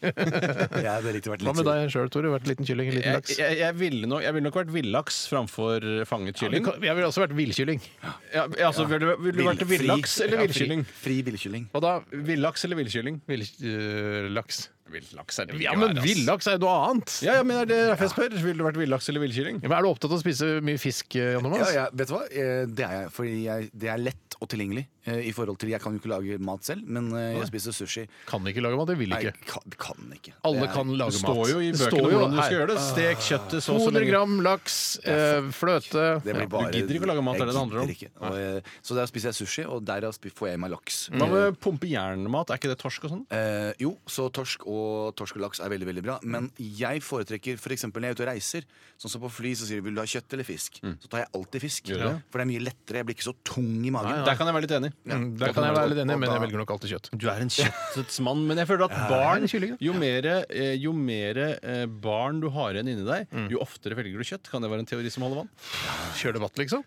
Jeg har vært litt Hva med kylling. deg sjøl, Tore? Vært liten kylling, liten Jeg, laks? jeg, jeg, ville nok, jeg ville nok vært villaks framfor fanget kylling. Jeg ville også vært villkylling. Ja, altså, ville du, ville du vært Vill- villaks fri- eller ja, villkylling? Fri, fri villkylling. Og da Villaks eller villkylling? vill, eh, laks. Villaks er det Ja, men villaks er jo noe annet! Ja, ja, men er det derfor jeg spør? Ville du vært villaks eller villkylling? Ja, men er du opptatt av å spise mye fisk, eh, Jan Thomas? Ja, ja, vet du hva? Eh, Det er jeg, fordi jeg, det er lett og tilgjengelig. eh, I forhold til, Jeg kan jo ikke lage mat selv, men eh, jeg spiser sushi. Kan ikke lage mat, jeg vil Nei, ikke. kan, kan ikke. Alle Det er- kan lage Det mat. står jo i Det bøkene står jo hvordan du skal her. gjøre det. sånn Stek kjøttet så og så 200 lenge. gram laks, eh, fløte Det blir ja. bare, gidder ikke å lage mat, jeg det er det det handler om. gidder ikke. Og, eh, så der spiser jeg sushi, og derav spi- får jeg i meg laks. Hva med pumpejernmat? Er ikke det torsk og sånn? Eh, jo, så torsk og, torsk og laks er veldig veldig bra. Men jeg foretrekker for eksempel når jeg er ute og reiser, sånn som på fly, så sier de 'vil du ha kjøtt eller fisk'? Så tar jeg alltid fisk. Mm. Gjør du det? For det er mye lettere. Jeg blir ikke så tung i magen. Der kan jeg være litt enig. Mm, Der kan jeg være litt enig, men jeg velger nok alltid kjøtt. Du er en kjøttets mann, men jeg føler at barn Jo mer, eh, jo mer eh, barn du har igjen inni deg, Mm. jo oftere velger du kjøtt. Kan det være en teori som holder vann? Kjør debatt, liksom?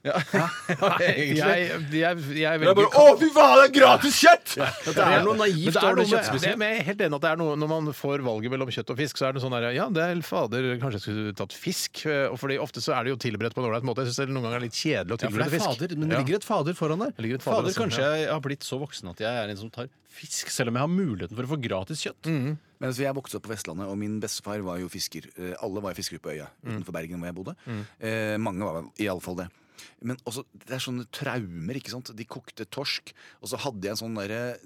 Jeg, egentlig. jeg, jeg Det er velger bare, Å, fy faen, det er gratis kjøtt! det er noe Men naivt det over det er noe med, det, kjøttspisingen. men jeg er helt enig at det er noe, Når man får valget mellom kjøtt og fisk, så er det sånn der, ja, det er fader, kanskje jeg skulle tatt fisk. eh, og Fordi Ofte så er det jo tilberedt på en ålreit måte. Jeg synes det noen ganger er litt kjedelig å Ja, for det tilberede er fisk. fader, men det Ja. ligger et fader foran der. Det ligger et fader fader, sånn, også, Kanskje ja. jeg har blitt så voksen at jeg er en som tar fisk, selv om jeg har muligheten for å få gratis kjøtt. Men altså, jeg vokste opp på Vestlandet, og min bestefar var jo fisker. Eh, Alle var jo fiskere på øya Mm. utenfor Bergen, hvor jeg bodde. Eh, mange var iallfall det. Men også, det er sånne traumer. ikke sant? De kokte torsk, og så hadde jeg en sånn derre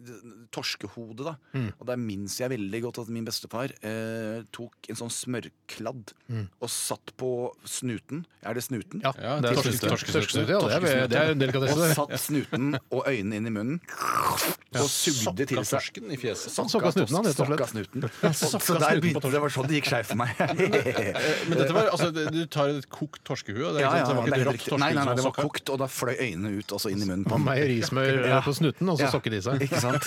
torskehode. da. Mm. Og der minnes jeg veldig godt at min bestefar eh, tok en sånn smørkladd og satt på snuten. Er det snuten? Mm. Ja, Ja, det er torskesnute. torskesnute. Torskesnute, ja, det er- det er en delikatesse. Og det. satt snuten og øynene inn i munnen og sugde til seg. torsken i fjeset. Han sokka snuten, han, rett og slett. Sokka snuten. Så der snuten på begynte det var sånn det gikk skeivt for meg. Men dette var, altså, det- du tar et kokt torskehue. Det er, Ja, ikke ja, sant? det var det ikke er et helt riktig. Nei, rått torskehue. nei, nei, nei, det var sokker. kokt, og da fløy øynene ut og så inn i munnen på Og meierismør eh, på snuten, og så Ja. sokker de seg. Ikke sant?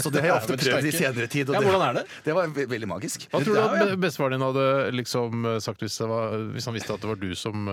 Så det har jeg ofte Ja, men prøvd i sterke. senere tid. og Ja, hvordan er det? Det var ve veldig magisk. Hva tror du Ja, at ja. be- bestefaren din hadde liksom eh, sagt hvis, det var, hvis han visste at det var du som eh,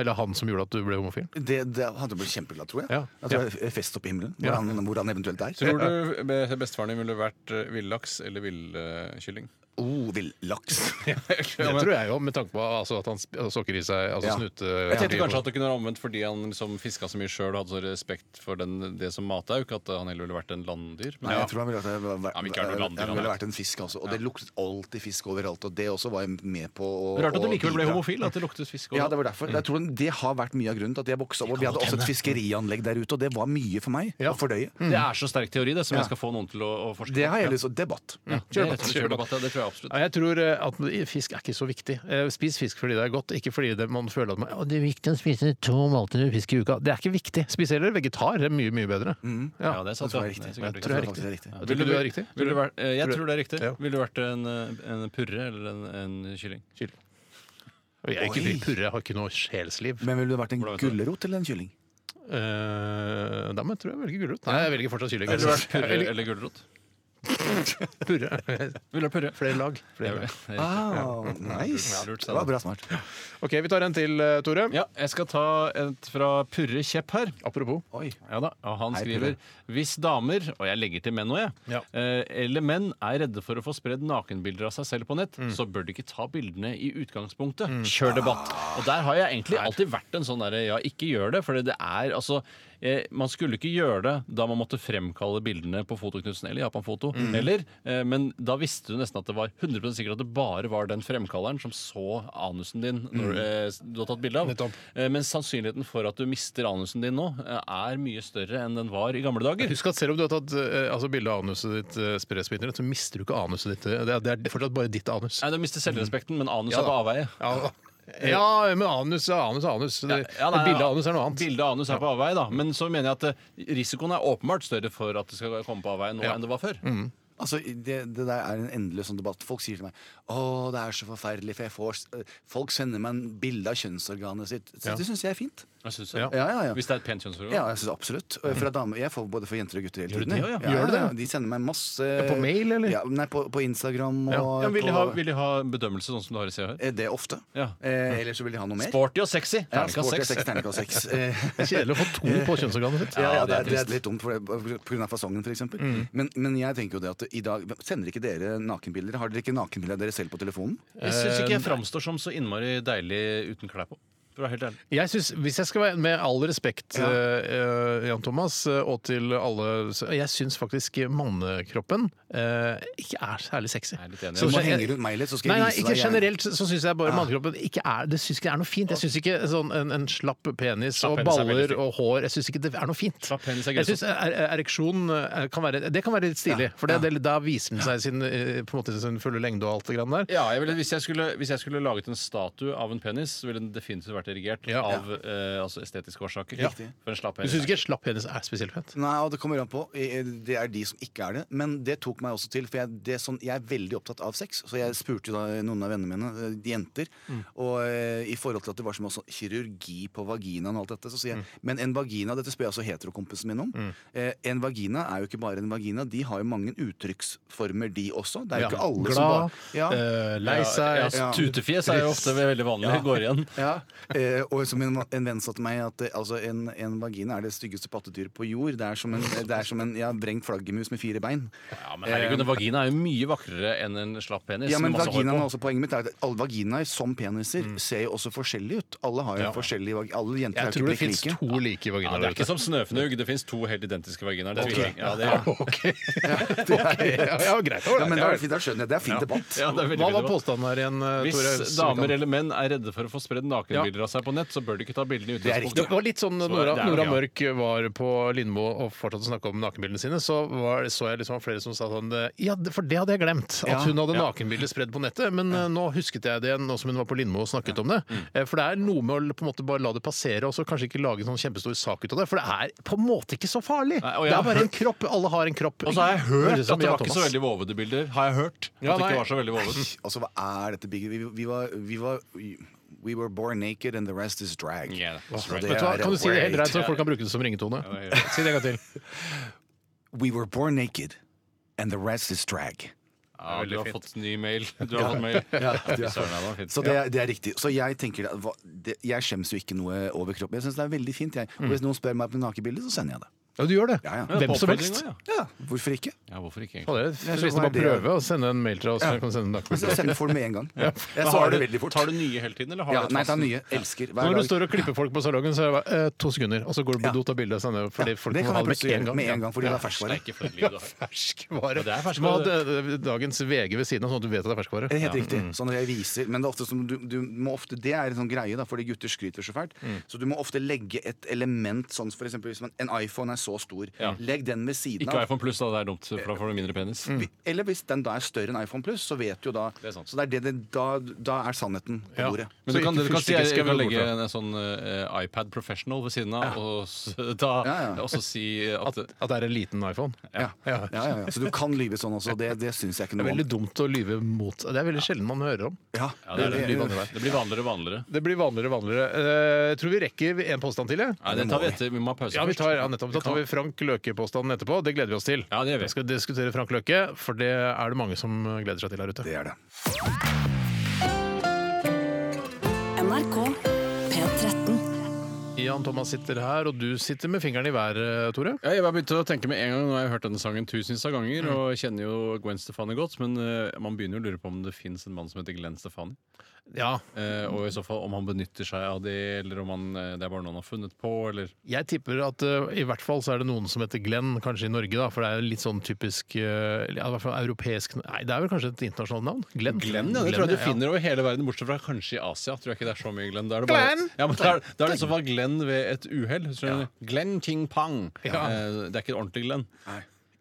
Eller han som gjorde at du ble homofil? Det, det hadde blitt kjempeglad, tror jeg. Ja. Jeg tror det er Fest opp i himmelen, hvor Ja. han, hvor han eventuelt er. Tror du be- bestefaren din ville vært eh, villaks eller villkylling? Oh, villaks. Det tror jeg jo, med tanke på altså, at han sp- sokker i seg altså, Ja. snute... Jeg tenkte kanskje at det kunne være omvendt fordi han liksom fiska så mye sjøl og hadde så respekt for den, det som matauk, at han heller ville vært en landdyr. Men Nei, ja. jeg tror han ville vært, jeg ville vært, Ja, men ikke er det noe land i jeg ville landet. vært en fisk også. Og det luktet alltid fisk overalt, og det også var jeg med på å Rart at du å likevel ble bidra. homofil. At det luktet fisk Ja, det var mm. derfor. Jeg tror det har vært mye av grunnen til at jeg vokste opp. Og vi hadde også et fiskerianlegg der ute, og det var mye for meg å fordøye. Det er så sterk teori, det, som Mm. Ja. jeg skal få noen til å, å forske Det på. har jeg lyst til. Debatt. Ja, det, Kjør er rett og slett debatt, kjørdebatt, ja, det tror jeg absolutt. Ja, jeg tror eh, at fisk er ikke så viktig. Eh, Spis fisk fordi det er godt, ikke fordi det, man føler at man, å, det er viktig å spise to måltider fisk i uka. Det er ikke viktig. Spis heller vegetar, det er mye, mye bedre. Mm. Ja. Ja, det er Det sant. tror jeg Ja. er riktig. Det er sikkert Jeg riktig. tror det faktisk er riktig. Tror du det er riktig? Vil du vært, eh, jeg tror det er riktig. Ja. Ville du vært en, eh, en purre eller en, en kylling? Og Jeg er ikke Oi. fri purre, jeg har ikke noe sjelsliv. Men ville du vært en Hvordan vet du det? gulrot eller en kylling? Eh, da må jeg tror jeg velger gulrot. Nei, jeg velger fortsatt kylling. altså. Ville du vært Jeg purre velger eller gulrot? purre. Ville du vært purre? Flere lag. Flere Jeg- lag. jeg- Ah, nice. Ja, lurt, sa Det var du. bra smart. Ok, vi tar en til, eh, Tore. Ja, jeg skal ta et fra Purre Kjepp her. Apropos. Oi. Ja da, og Han Hei, skriver hvis damer, og jeg legger til menn òg, jeg, Ja. eh, eller menn er redde for å få spredd nakenbilder av seg selv på nett, så bør de ikke ta bildene i utgangspunktet. Kjør debatt. Og der har jeg egentlig alltid vært en sånn derre ja, ikke gjør det, for det er altså eh, Man skulle ikke gjøre det da man måtte fremkalle bildene på Fotoknutsen eller Japan Foto, eller, eh, men da visste du nesten at det var 100 sikkert at det bare var den fremkalleren som så anusen din når eh, du har tatt bilde av. Nettopp. Eh, Men sannsynligheten for at du mister anusen din nå, eh, er mye større enn den var i gamle dager. Husk at selv om du har tatt eh, altså bilde av anuset ditt, eh, spres på internett, så mister du ikke anuset ditt. Det er, det er fortsatt bare ditt anus. Nei, Du mister selvrespekten, men anus Ja er da. på avveie. Ja, ja men anus er anus er anus. Det, Ja, nei, nei, bildet av anus er noe annet. Bildet av anus er på avveie, da. Men så mener jeg at eh, risikoen er åpenbart større for at det skal komme på avveie nå Ja. enn det var før. Altså, det, det der er en endeløs sånn debatt. Folk sier til meg Å, det er så forferdelig, for jeg får s- Folk sender meg en bilde av kjønnsorganet sitt. Så Ja. Det syns jeg er fint. Jeg synes Ja. det. Ja, ja, ja. Hvis det er et pent kjønnsorgan. Ja, jeg synes absolutt. Og Fra damer, jeg får både for jenter og gutter hele Gjør du tiden. det, ja? Ja, Gjør du det? ja, De sender meg masse På mail, eller? Ja, nei, på, på Instagram og Ja. Ja, men vil, de på- ha, vil de ha bedømmelse sånn som du har i Se og Hør? Eh, Det ofte. Ja. Eh, Eller så vil de ha noe mer. Sporty og sexy. Ja, Terningkast sporty, seks. seks, terningkast seks. Eh, Det er kjedelig å få to på kjønnsorganet sitt. Ja, ja, det det, er Mm. er, det er litt dumt for det, på grunn av fasongen, f.eks. eksempel Men, men jeg tenker jo det at i dag Sender ikke dere nakenbilder? Har dere ikke nakenbilder av dere selv på telefonen? Jeg syns ikke jeg framstår som så innmari deilig uten klær på. For å være helt ærlig. Jeg synes, Hvis jeg skal være med all respekt, Ja. eh, eh, Jan Thomas, eh, og til alle så Jeg syns faktisk mannekroppen eh, ikke er særlig sexy. Jeg er litt enig. Så du må Så jeg- henge rundt meg litt, så skal Nei, jeg nei, vise ikke deg generelt så syns jeg bare mannekroppen ikke er, Det syns ikke det er noe fint. Jeg syns ikke sånn en, en slapp penis Slapp og penis er veldig baller fint. og hår Jeg syns ikke det er noe fint. Slapp penis er jeg grusomt. syns er, er, ereksjon eh, kan være, det kan være litt stilig, for det, det, da viser den seg sin, eh, på en måte sin fulle lengde og alt det grann der. Ja, jeg ville, hvis, jeg skulle, hvis jeg skulle laget en statue av en penis, så ville den definitivt vært erigert Ja. av eh, altså estetiske årsaker. Ja. For en slapp penis. Du syns ikke slapp penis er spesielt fett? Nei, og det kommer an på. Det er de som ikke er det. Men det tok meg også til, for jeg, det er sånn, jeg er veldig opptatt av sex. Så jeg spurte jo da noen av vennene mine, eh, jenter, Mm. og eh, i forhold til at det var så mye sånn kirurgi på vaginaen og alt dette, så Mm. sier jeg Men en vagina, dette spør jeg også heterokompisen min om, eh, en vagina er jo ikke bare en vagina. De har jo mange uttrykksformer, de også. Det er jo Ja. ikke alle som Glad, bare ja. eh, lei Ja, seg ja, ja. Tutefjes er jo ofte veldig vanlig. Ja. Går igjen. Ja, eh, og som en, en venn sa til meg at eh, altså, en, en vagina er det styggeste pattedyret på jord. Det er som en, det er som en ja, vrengt flaggermus med fire bein. Ja, men herregud, en vagina er jo mye vakrere enn en slapp penis. Ja, men med masse hår vaginaen på. er også poenget mitt er at alle vaginaer som peniser ser jo også forskjellige ut. Alle har jo forskjellige vag- Alle jenter Mm. er Jeg jo tror det ikke fins prikk like. to like ja, vaginaer det er ikke der ute. som snøfnugg. Det fins to helt identiske vaginaer. Det Ok. tviler jeg. ja, det er. Ok. Ok, Ja, ja, greit. Ja, men det Ålreit, ja. er, fint, da skjønner jeg. Det er fin debatt. Ja, det er veldig Hva var fint. påstanden her igjen, eh, Tore? Hvis damer eller menn er redde for å få spredd nakenbilder av seg på nett, så bør de ikke ta bildene Det i er Det utgangspunktet. var litt sånn Så Nora, det er jo Nora gøy. Mørk var på Lindmo og fortsatte å snakke om nakenbildene sine. Så var, så jeg liksom flere som sa sånn eh, Ja, det- for det hadde jeg glemt. At Ja. hun hadde nakenbilder spredd på nettet. Men eh, nå husket jeg det igjen, nå som hun var på Lindmo og snakket om det. Mm. Eh, For det er noe med å på en måte bare la det passere, og så kanskje ikke lage en sånn kjempestor sak ut av det. For det er på en måte ikke så farlig. Nei, og Det jeg er har bare en kropp. Alle har en kropp. Og så har jeg hørt Høres at som det Jan var ikke så Thomas. veldig vovede bilder. Har jeg hørt? Ja, at det nei. ikke var så veldig vovet. Altså, hva er dette bygget? Vi, vi var, vi var We were born naked and the rest is drag. Yeah, that's Og right. det Vet du hva? er Kan du si det helt great. rett, så folk kan bruke det som ringetone? Si det en gang til. We were born naked and the rest is drag. Ja, du veldig har fint. fått ny mail. Du har fått mail. Fy søren, det var fint. Så det, er- det er riktig. Så jeg tenker da, hva, det, Jeg skjems jo ikke noe over kroppen. Jeg syns det er veldig fint. Jeg. Og Mm. hvis noen spør meg om nakenbilde, så sender jeg det. Ja, du gjør det. Ja, ja. Hvem som Oppfordring helst. også, Ja, Hvorfor ikke? Ja, Ja, hvorfor ikke? Ja, egentlig? det er Jeg synes fristende å det er bare det. prøve å sende en mail til oss. så jeg Kan sende en Så nakenbilde. jeg sender for det med en gang. Jeg Men svarer har det du- veldig fort. Tar du nye hele tiden, eller har Ja, du et nei, ta fast- nye. Elsker. Hver Når du dag. står og klipper folk på salongen, så er det bare eh, to sekunder, og så går du på Ja. do og tar bilde og sender det, fordi Ja, folk det må kan ha jeg det plutselig gjøre med en gang, fordi det er Det er ferskvare. ikke for et liv du har. Ferskvare. Ja, det er ferskvare. Du må ha det- det- dagens VG ved siden av, sånn at du vet at det er ferskvare. Helt riktig. Sånn jeg viser, men det er ofte som du, du må ofte, det er en sånn greie, da, fordi gutter skryter så fælt. Så du må ofte legge et element sånn for eksempel hvis man, en iPhone er så stor. Ja. Legg den ved siden Ikke av. iPhone pluss, da. Det er dumt, for da får du mindre penis. Mm. Eller hvis den da er større enn iPhone pluss, så vet du jo da. Det er sant. så det er det, det da, da er sannheten på Ja. bordet. Så Men du kan, ikke du kan si fyrstikker jeg skal kan vi legge gå bort en sånn eh, iPad Professional ved siden av, og, s- da, Ja, ja. og så si at At, at det er en liten iPhone. Ja. Ja, Ja. ja, ja. Så du kan lyve sånn også. Det, det syns jeg ikke Det er noe om. veldig dumt å lyve mot Det er veldig sjelden man hører om. Ja, ja, det, er, det, det- blir vanligere. det blir vanligere og vanligere. Det blir vanligere og vanligere. Eh, Jeg tror vi rekker en påstand til, jeg. Nei, det tar vi etter. Vi må ha pause Ja, vi først. tar, ja, nettopp. Da tar vi Frank Løke-påstanden etterpå. Det gleder vi oss til. Ja, det gjør vi. Vi skal diskutere Frank Løke, for det er det mange som gleder seg til her ute. det er det. NRK P13. Jan Thomas sitter her, og du sitter med fingeren i været, Tore. Ja, jeg bare begynte å tenke med en gang, Nå har jeg hørt denne sangen tusenvis av ganger og kjenner jo Gwen Stefani godt, men eh, man begynner jo å lure på om det fins en mann som heter Glenn Stefani. Ja, Eh, og i så fall om han benytter seg av det, eller om han, eh, det er bare noe han har funnet på, eller jeg tipper at eh, i hvert fall så er det noen som heter Glenn, kanskje i Norge, da, for det er jo litt sånn typisk eh, ja, i hvert fall europeisk Nei, det er vel kanskje et internasjonalt navn? Glenn? Glenn, ja, det tror jeg du ja. finner over hele verden, bortsett fra kanskje i Asia. Tror jeg ikke det er så mye Glenn. Da er det bare, Glenn! Ja, men da er, da er det i så fall Glenn ved et uhell. skjønner du? Glenn Ting Pang. Ja. Eh, det er ikke et ordentlig Glenn.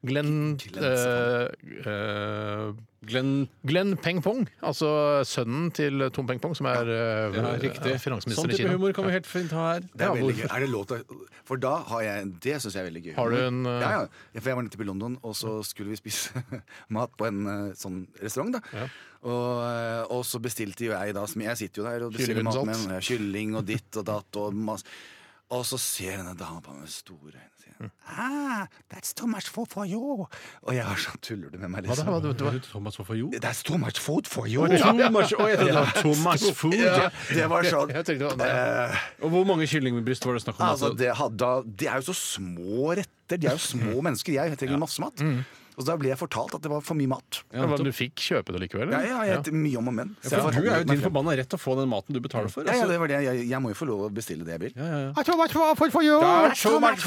Glenn sånn. eh, eh, Glenn Glenn Peng Pong, altså sønnen til Tom Peng Pong, som er eh, ja, riktig. Sånn finansminister i type Kina. humor kan vi helt fint ha her. Det er Ja, veldig gøy. hvorfor? Er det lov til å- For da har jeg Det syns jeg er veldig gøy. Har du en, uh, Ja, ja. For jeg var nettopp i London, og så skulle vi spise mat på en uh, sånn restaurant. da og, uh, og så bestilte jo jeg da som Jeg sitter jo der og bestiller Kylling mat uten med salt. ja, kylling og ditt og datt og masse og så ser denne dama på meg med store øyne og Mm. sier ah, That's too much food for you. Og jeg har sånn Tuller du med meg, Hva da? Hva, liksom? du, du, Thomas Wafajo? That's too much food for you. Too much, Oi, jeg trodde det var Thomas Food. Ja, det var sånn. jeg tenkte, nei, eh, Og hvor mange kyllingbryst var det snakk om? Altså, det, hadde- da- det er jo så små retter. De er jo Mm. små mennesker. Jeg trenger masse mat. Og så da ble jeg fortalt at det var for mye mat. ja, men du fikk kjøpe det likevel? Ja, eller? ja, jeg heter mye om og men. Så jeg For fortalte du er jo meg din frem. forbanna rett til å få den maten du betaler for. ja, ja, Altså. det var det. Jeg, jeg må jo få lov å bestille det jeg vil. I too much for- for- for you!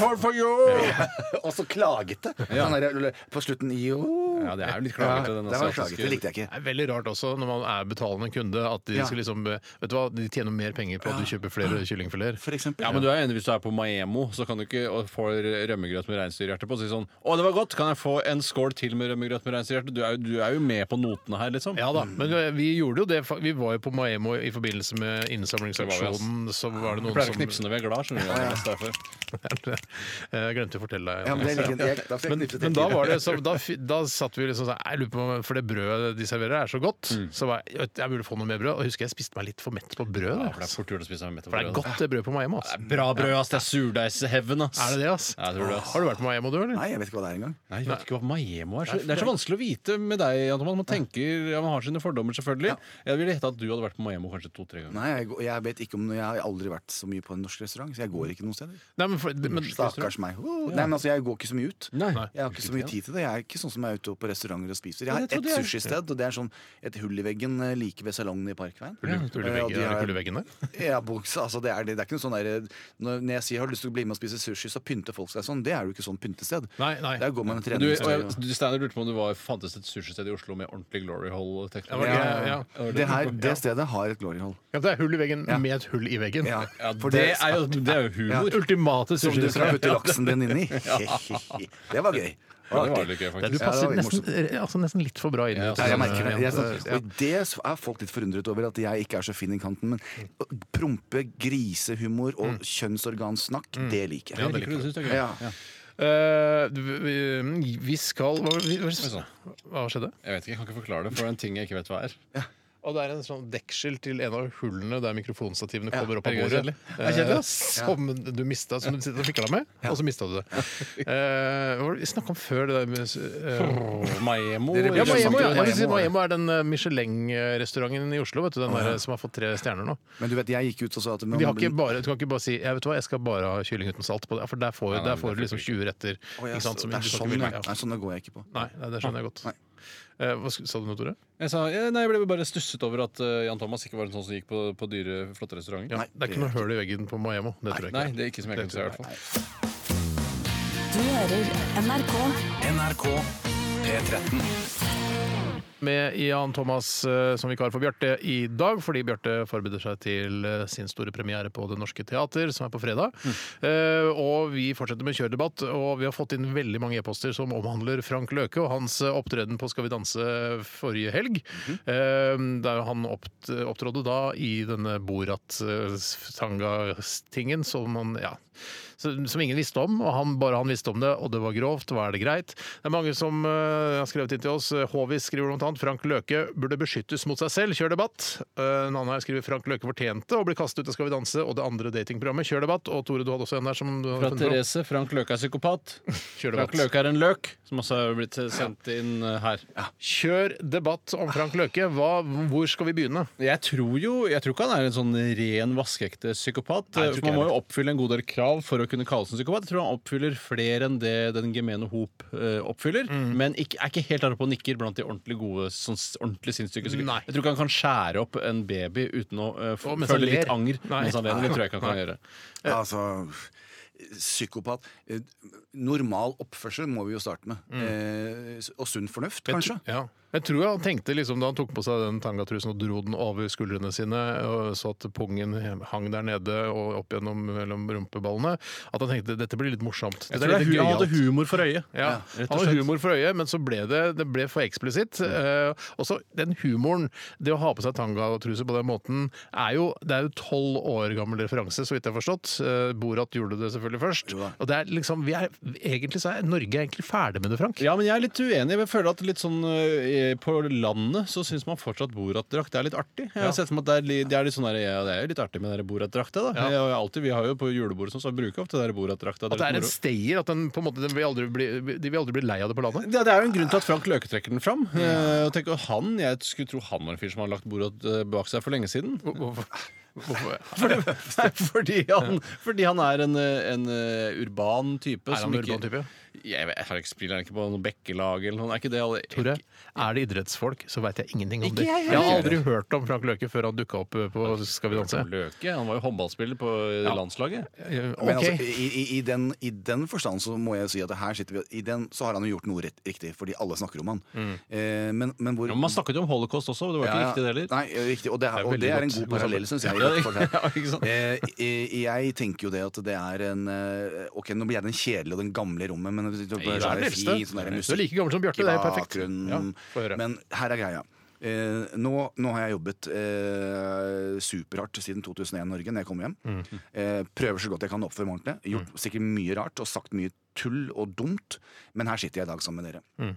Og så klaget det! Sånn der, på slutten jo Ja, det er jo litt klagete, den Det var asiatiske- klaget, det likte jeg ikke. Det er veldig rart også når man er betalende kunde at de Ja. skal liksom eh, Vet du hva, de tjener mer penger på at du kjøper flere kyllingfileter. For eksempel. Ja, men du er enig Hvis du er på Maemo, så kan du ikke og får rømmegrøt med reinsdyrhjerte på og si sånn 'Å, det var godt! Kan jeg få en skål til med rømmegrøt med reinsdyrhjerte?' Du, er jo- du er jo med på notene her, liksom. Ja da, men eh, vi gjorde jo det. fa- Vi var jo på Maemo i forbindelse med innsamlingsaksjonen. Så var Jeg det noen pleier å som knipse når vi er glad, skjønner du. det er mest derfor. Jeg glemte å fortelle deg. Ja, men det er like- jeg- da fikk jeg men, knipset men til. da var det så, da, fi- da satt vi liksom sånn Jeg lurer på om For det brødet de serverer, er så godt. Så var jeg, jeg burde få noe mer brød. Og jeg husker jeg spiste meg litt for mett på brød. Ja, for det er da, altså. fort gjort å spise med for det er godt, det brødet på Maemo. ass. Bra brød, ass. Det er surdeigshevn, ass. Er det det, ass? Ja, jeg tror det, ass. Har du vært på Maemo, du, eller? Nei, jeg vet ikke hva det er engang. Nei, jeg vet ikke hva Maemo er. Så- Det er så vanskelig å vite med deg, Jan Thomas. Man tenker, ja, man har sine fordommer, selvfølgelig. Jeg ville gjette at du hadde vært på Maemo kanskje to-tre ganger. Nei, jeg, går- jeg vet ikke om Jeg har aldri vært så mye på en norsk restaurant, så jeg går ikke noen steder. Nei, men, for, men Stakkars meg. Uh, Nei, men altså, Jeg går ikke så mye ut. Nei. Jeg har ikke så mye tid til det. Jeg er ikke sånn som er ute på restauranter og spiser. Jeg Ja, har det ett trodde jeg. sushisted, og det er sånn et hull i veggen eh, like ved salongen i Parkveien. Ulle- Ulleveggen- Ja, de er det har- ikke Ulleveggen der? Ja, buksa, altså det er det. Det er ikke noe sånn der, når, når jeg sier jeg har lyst til å bli med og spise sushi, så pynter folk seg sånn. Det er jo ikke sånn pyntested. Nei, nei. Der går man og Du, trener. og jeg, du, Steiner lurte på om det var, fantes et sushisted i Oslo med ordentlig glory hole-teknologi. Ja, Ja, ja, ja. Det, her, det stedet har et glory hole. Ja, det er hull i veggen med et hull i veggen. Ja, Ja, for det, er jo, det er jo humor. Ultimate Som du kan sushirestaurant. putte laksen din inni. Det var gøy. Ja, det var litt gøy, Ja, Du faktisk. Ja, det passer var nesten, altså nesten litt for bra inn. i Ja, det. Nei, jeg merker det. Jeg, er sånn- Ja. og det er folk litt forundret over at jeg ikke er så fin i kanten. Men prompe grisehumor Mm. og kjønnsorgansnakk, det liker jeg. Ja, det liker du, synes jeg. Ja. Ja. Eh, vi, vi skal hva, vi, hva skjedde? Jeg vet ikke, jeg kan ikke forklare det, for det er en ting jeg ikke vet hva er. Og det er en sånn deksel til en av hullene der mikrofonstativene kommer opp av herregud, bordet. kjedelig. Eh, Som du mista, som du sitter og fikla med, og så mista du det. Eh, hva var det vi snakka om før det der med eh, Maemo. Dere ja, blir Maemo, ja. Jeg vil si Maemo, ja. Maemo er den eh, Michelin-restauranten i Oslo vet du, den der, eh, som har fått tre stjerner nå. Men du vet, jeg gikk ut og sa at De har ikke bare, du kan ikke bare si jeg vet du hva, jeg skal bare ha kylling uten salt. på det, For der får, der får du liksom 20 retter. Å, ja, ikke sant, som det er du sånn, skal ikke ja. velge. Ja. Nei, sånne går jeg ikke på. Nei, nei, det skjønner jeg godt. Eh, hva sk- sa du noe, Tore? Jeg, sa, ja, nei, jeg ble bare stusset over at eh, Jan Thomas ikke var en sånn som gikk på, på dyre, flotte restauranter. Ja, Nei, det er ikke noe høl i veggen på Maemo. Det tror jeg ikke. Nei, det er ikke som jeg kunne se, i hvert fall. Du hører NRK. NRK P13. Med Jan Thomas eh, som vikar for Bjarte i dag, fordi Bjarte forbereder seg til eh, sin store premiere på Det Norske Teater, som er på fredag. Eh, Og vi fortsetter med kjørdebatt, og vi har fått inn veldig mange e-poster som omhandler Frank Løke og hans eh, opptreden på Skal vi danse forrige helg. Eh, Der han opt- opptrådde da i denne Borat-tanga-tingen som han ja, som som ingen visste om, og han, bare han visste om det, og det var grovt, hva er det greit? Det er mange som eh, har skrevet inn til oss. Håvis skriver blant annet Frank Løke burde beskyttes mot seg selv, kjør debatt. Eh, en annen her skriver Frank Løke fortjente å bli kastet ut av Skal vi danse og det andre datingprogrammet, kjør debatt. Og Tore, du hadde også en der som du hadde Fra funnet fram. Therese. Frank Løke er psykopat. Frank Kjør debatt. Løke er en løk, som også er blitt eh, sendt inn eh, her. Kjør debatt om Frank Løke. Hva, hvor skal vi begynne? Jeg tror jo Jeg tror ikke han er en sånn ren, vaskeekte psykopat. Nei, jeg tror for ikke Man må jeg jo oppfylle en god del krav for å kunne kalles en psykopat. Jeg tror han oppfyller flere enn det den gemene hop eh, oppfyller. Men ikke, er ikke helt der oppe og nikker blant de ordentlig gode, sånn s- ordentlig sinnssyke Nei. psykopater. Jeg tror ikke han kan skære opp en baby uten å eh, f- Og mens han føle litt ler. anger Nei. mens han ler. Det tror jeg ikke han kan gjøre. Altså, psykopat Eh, Normal oppførsel må vi jo starte med. Eh, og sunn fornuft, kanskje. Ja. Mm. Jeg tror han tenkte liksom da han tok på seg den tangatrusen og dro den over skuldrene sine, og så at pungen hang der nede og opp gjennom mellom rumpeballene, at han tenkte dette blir litt morsomt. Jeg Dette tror det er er, litt hu- han hadde gøyalt». humor for øyet. Ja, rett og Han hadde slett. humor for øyet, men så ble det, det ble for eksplisitt. Eh, også den humoren, det å ha på seg tangatruse på den måten, er jo Det er jo tolv år gammel referanse, så vidt jeg har forstått. Eh, Borat gjorde det selvfølgelig først. Jo da. Og det er liksom, vi er, Egentlig så er Norge egentlig ferdig med det, Frank. Ja, men jeg er litt uenig. Jeg føler at litt sånn eh, På landet så syns man fortsatt Borat-drakt er litt artig. Jeg har sett for meg at det er, li- det er litt sånn der, ja, det er jo litt artig med den der Borat-drakta, da. Ja. Jeg, har jo alltid, vi har jo på julebordet sånn, så bruker vi ofte den der Borat-drakta. At det er en moro. stayer, at den, på en måte, den vil aldri bli, de vil aldri bli lei av det på landet. Ja, det er jo en grunn til at Frank Løke trekker den fram. Eh, og tenk, og han, Jeg skulle tro han var en fyr som hadde lagt Borat eh, bak seg for lenge siden. Hvorfor? Fordi, nei, fordi, han, fordi han er en, eh, en eh, urban type. Er som han en ikke- urban type? Jeg, vet- jeg har ikke spiller han ikke på noe bekkelag eller noe? Er ikke det alle Tore, er det idrettsfolk, så veit jeg ingenting om det. jeg Jeg har aldri hørt om Frank Løke før han dukka opp eh, på Skal vi danse. Løke, han var jo håndballspiller på landslaget. Eh, Men ok. altså, i, i, i, den, I den forstand så må jeg si at her sitter vi I den så har han jo gjort noe rett, riktig, fordi alle snakker om han. Mm. Eh, men, men hvor Ja, men man snakket jo om holocaust også, det var ikke Ja, ja. riktig det heller. Nei, riktig, og det, Det er, er og det er en veldig god godt- parallell, syns jeg. Ja, for seg. ja, ikke sant? Eh, eh, jeg tenker jo det at det er en eh, Ok, nå blir jeg den kjedelige og den gamle i rommet, men det, det, Nei, du Du er er den eldste. fin, sånn der Du er like gammel som Bjarte. Det er perfekt. bakgrunnen. Ja, få høre. Men her er greia. Eh, nå, nå har jeg jobbet eh, superhardt siden 2001 Norge, når jeg kom hjem. Mm. Eh, prøver så godt jeg kan å oppføre meg ordentlig. Gjort sikkert mye rart og sagt mye tull og dumt, men her sitter jeg i dag sammen med dere.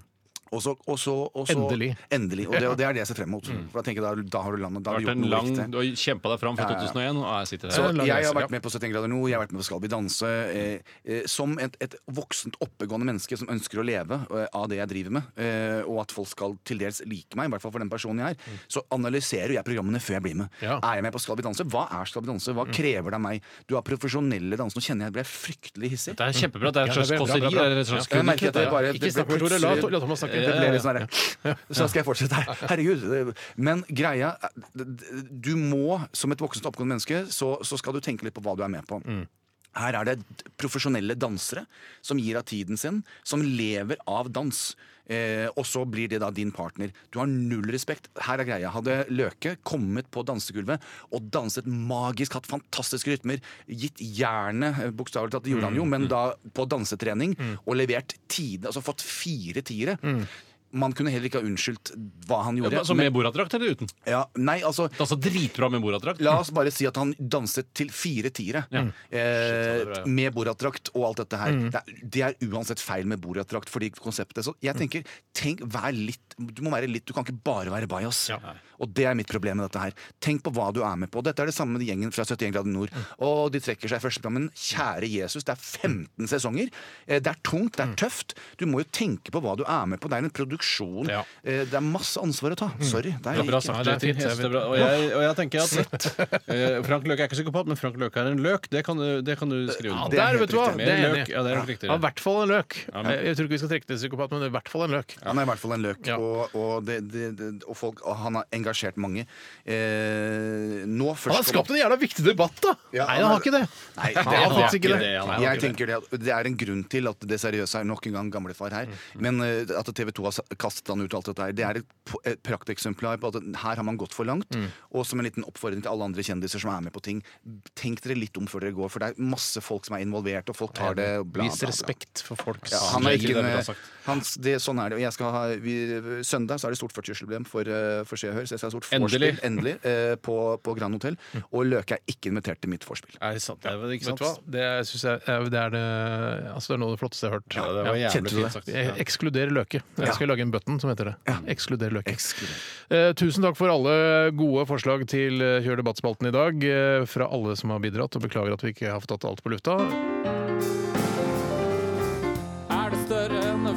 Og så, og så, og så, Endelig. Mm. endelig. Og det, og det er det jeg ser frem mot. For da tenker jeg, da, da har du landet, da har Det har du gjort vært en noe lang, riktig. Du har kjempa deg fram fra Ja, ja, ja. 2001, og jeg sitter Så her. Det er en lang jeg har reise, vært med på 71 grader nord, jeg har vært med på Skal vi danse. Eh, eh, som et, et voksent, oppegående menneske som ønsker å leve eh, av det jeg driver med, eh, og at folk skal til dels like meg, i hvert fall for den personen jeg er, så analyserer jeg programmene før jeg blir med. Mm. Ja. Mm. Er jeg med på Skal vi danse? Hva er Skal vi danse? Hva krever det av meg? Du har profesjonelle dansere. Nå kjenner jeg jeg ble fryktelig hissig. det er kjempebra. Det er et Ja, slags det er bra, bra, kåseri. bra. det er et slags Jeg merker at det ja. bare Ikke snakk med Tore, la- la Thomas snakke. Det ble litt sånn her, Så skal jeg fortsette her. Herregud. det- Men greia Du må, som et voksent oppgående menneske, så, så skal du tenke litt på hva du er med på. Mm. Her er det d- profesjonelle dansere som gir av tiden sin, som lever av dans. Eh, og så blir det da din partner. Du har null respekt. Her er greia. Hadde Løke kommet på dansegulvet og danset magisk, hatt fantastiske rytmer, gitt jernet, eh, bokstavelig talt, det gjorde Mm, han jo, men da på dansetrening, og levert tide, altså fått fire tiere Man kunne heller ikke ha unnskyldt hva han Mm. Ja, gjorde. men- Så med Borat-drakt eller uten? men, ja, nei, altså Altså dritbra med Borat-drakt. La oss bare si at han danset til fire tiere. Eh, med Borat-drakt og alt dette her. Det, er, det er uansett feil med Borat-drakt. Fordi konseptet Så jeg tenker, tenk, vær litt Du må være litt Du kan ikke bare være bajas. Og det er mitt problem med dette her. Tenk på hva du er med på. Dette er det samme med gjengen fra 71 grader nord. Og de trekker seg i første plan. Men kjære Jesus, det er 15 sesonger. Eh, Det er tungt, det er tøft. Du må jo tenke på hva du er med på. Det er en produksjon. Ja. Eh, Det er masse ansvar å ta. Sorry. Det er Bra ikke- sagt, Nei, det er Jørgen. fint, jeg Jeg synes vet. det er bra. Og, jeg, og jeg tenker at eh, Frank Løke er ikke psykopat, men Frank Løke er en løk. Det kan du, det kan du skrive Ja, under på. der, vet du hva! Mer Det er jeg enig løk. i. Ja, det er nok Ja, riktigere. i hvert fall en løk. men- Jeg jeg tror ikke vi skal trekke til psykopat, men i hvert fall en løk. Han er i hvert fall en løk, Ja. og, og, det, det, det, og, folk, og han har engasjert mange. Eh, nå først Han har skapt en jævla viktig debatt, da! Ja, han Nei, han har- har ikke det. Nei, det, Han har han ikke faktisk ikke det, det. han har jeg tenker det, at det er en grunn til at det seriøse er nok en gang gamlefar Mm, her. Men eh, at TV 2 har sa- kastet han ut og alt dette her, det er et, po- et prakteksemplar på at her har man gått for langt. Mm. Og som en liten oppfordring til alle andre kjendiser som er med på ting, tenk dere litt om før dere går, for det er masse folk som er involvert, og folk tar det bla, bla, Vis bla. respekt for folks Ja, han er ikke Det er bra en, sagt. hans, det, sånn er det. Og jeg skal ha, vi, søndag så er det stort 40-årsjubileum for, eh, for Se og Hør. Så jeg skal ha stort vorspiel Endelig. endelig, eh, på, på Grand Hotel. Og Løke er ikke invitert til mitt vorspiel. Er det sant? Det er vel ikke Vet sant? du hva? Det synes jeg er- det er det altså det er noe av det flotteste jeg har hørt. Ja, det var Ja. jævlig kjente du det? fint sagt. Jeg Ekskluderer løke. Jeg skal lage en button som heter det. Ekskluder løke. Ekskluder. Eh, tusen takk for alle gode forslag til eh, Kjør debattspalten i dag. eh, fra alle som har bidratt, og beklager at vi ikke har fått tatt alt på lufta. Er det større enn en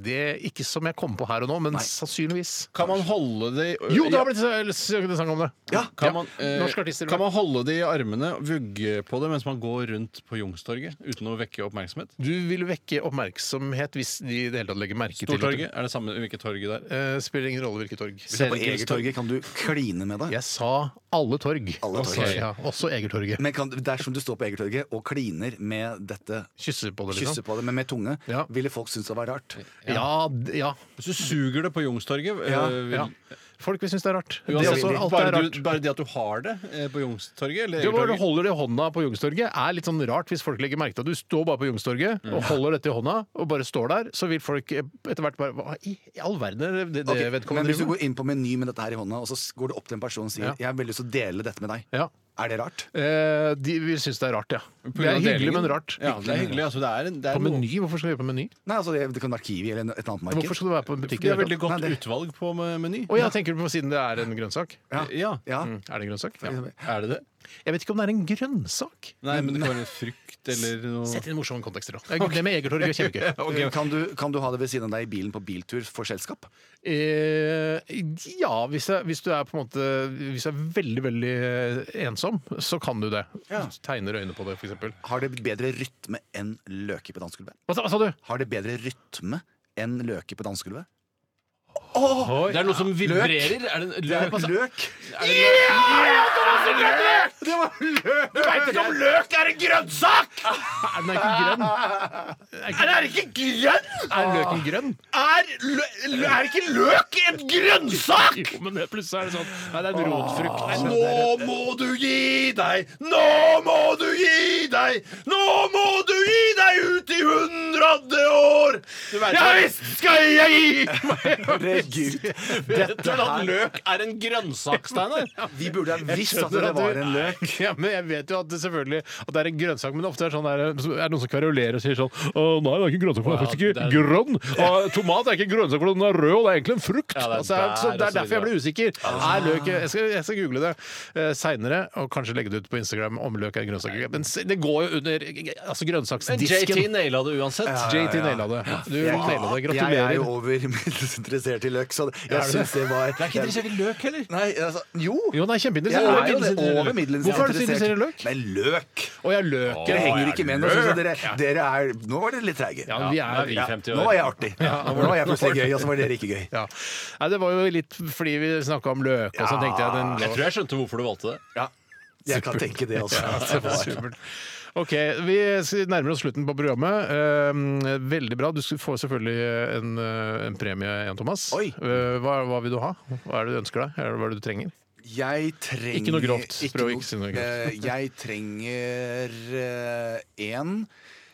det ikke som jeg kom på her og nå, men sannsynligvis. Kan man holde det i- Jo, det har blitt eh, skrevet en sang om det! Ja. Kan man, eh, Norske artister. kan man holde det i armene, vugge på det mens man går rundt på Youngstorget uten å vekke oppmerksomhet? Du vil vekke oppmerksomhet hvis de i det hele tatt legger merke til Stortorget? Er det samme hvilket torget der? Eh, Spiller ingen rolle hvilket torg. På Egertorget kan du kline med deg. Jeg sa alle torg. Alle Også- torg. Ja, også Egertorget. Men kan, dersom du står på Egertorget og kliner med dette, Kysser på det, kysser liksom. på det, men med tunge, Ja. Eh, ville folk synes det var rart. Ja, d- ja. Hvis du suger det på Youngstorget eh, Ja, vil- ja. Folk vil synes det er rart. Det er Uansett, også, alt er bare, rart. du, bare det at du har det eh, på Youngstorget eller Det hvor du Egertorget holder det i hånda på Youngstorget, er litt sånn rart hvis folk legger merke til at du står bare på Youngstorget Mm. og holder dette i hånda og bare står der, så vil folk eh, etter hvert bare Hva i all verden er det, det Ok, men vedkommende liksom? hvis du driver med? går inn på Meny med dette her i hånda, og så s- går du opp til en person og sier Ja. 'jeg har veldig lyst til å dele dette med deg', Ja. er det rart? Eh, de vil synes det er rart, ja. På Det grunn er av hyggelig, delingen. men rart. Ja, det er hyggelig. Altså, det er en, det er På noe- meny? Hvorfor skal du gjøre på meny? Nei, altså Det det kan være Kiwi eller et annet marked. Hvorfor skal du være på De har butikken? veldig godt Nei, det- utvalg på me- Meny. Å ja, tenker du på siden det er en grønnsak? Ja. Ja. Ja. Mm. Er det en grønnsak? Ja. Er det det? Jeg vet ikke om det er en grønnsak. Nei, men det kan være frukt eller noe Sett inn morsomme kontekster, da. Det med Egertorget er kjempegøy. Eh, Kan, du, kan du ha det ved siden av deg i bilen på biltur for selskap? Eh, ja, hvis, jeg, hvis du er på en måte Hvis du er veldig, veldig eh, ensom, så kan du det. Tegner øyne på det, f.eks. Har det bedre rytme enn løke på dansegulvet? Hva, sa- hva sa du? Har det bedre rytme enn løke på dansegulvet? Det er noe som vibrerer. Er det, løk, altså. løk! Veit ikke om løk er en grønnsak! Den er ikke grønn. Er den ikke grønn? Er løken grønn? Er, ikke løk en grønnsak?! Jo, men det- plutselig er det sånn Nei, det er en rotfrukt. nå må du gi deg! Nå må du gi deg! Nå må du gi deg ut i hundrede år! Ja visst skal jeg gi Herregud. Dette er at løk er en grønnsak, Steinar. Vi burde ha visst at skjønner det at du- var en løk. Ja, men Jeg vet jo at det selvfølgelig At det er en grønnsak, men ofte er det sånn der, er det noen som kverulerer og sier sånn Å nei, det er ikke en grønnsak, for den er Ja, faktisk ikke det er- grønn. Og tomat er ikke en grønnsak, for den er rød, og det er egentlig en Ja, frukt. det er altså, jeg- bær så og det er så derfor jeg ble usikker. Er løk Jeg skal, jeg skal google det eh, seinere, og kanskje legge det ut på Instagram om løk er en grønnsak. Men se- det går jo under altså, JT grønnsaksdisken. naila det uansett. JT naila det. Du Jeg naila det. er jo Gratulerer. over middels interessert i løk, så Er jeg du syns det var Jeg er ikke interessert i løk heller. Nei, altså, jo. Jo, nei, Jeg kjempeinteressant. er jo Over det, middels over middels Hvorfor er du så interessert i løk? Nei, løk! Og jeg er løk. Det henger ikke med nå. så Dere, dere er Nå var dere litt treige. Ja, vi er, vi ja. 50 år. Nå var jeg artig. Nå var jeg plutselig gøy, og så var dere ikke gøy. Ja. Nei, det var jo litt fordi vi snakka om løk, og så tenkte jeg den Jeg tror jeg skjønte hvorfor du valgte det. Jeg kan tenke det også. Det var supert. OK, vi nærmer oss slutten på programmet. Eh, Veldig bra. Du skal- får selvfølgelig en, eh, en premie igjen, Thomas. Oi. Eh, Hva, hva vil du ha? Hva er det du ønsker deg? Eller Hva er det du trenger? Jeg trenger Ikke noe grovt. Prøv ikke å si noe grovt. eh, jeg trenger eh, en,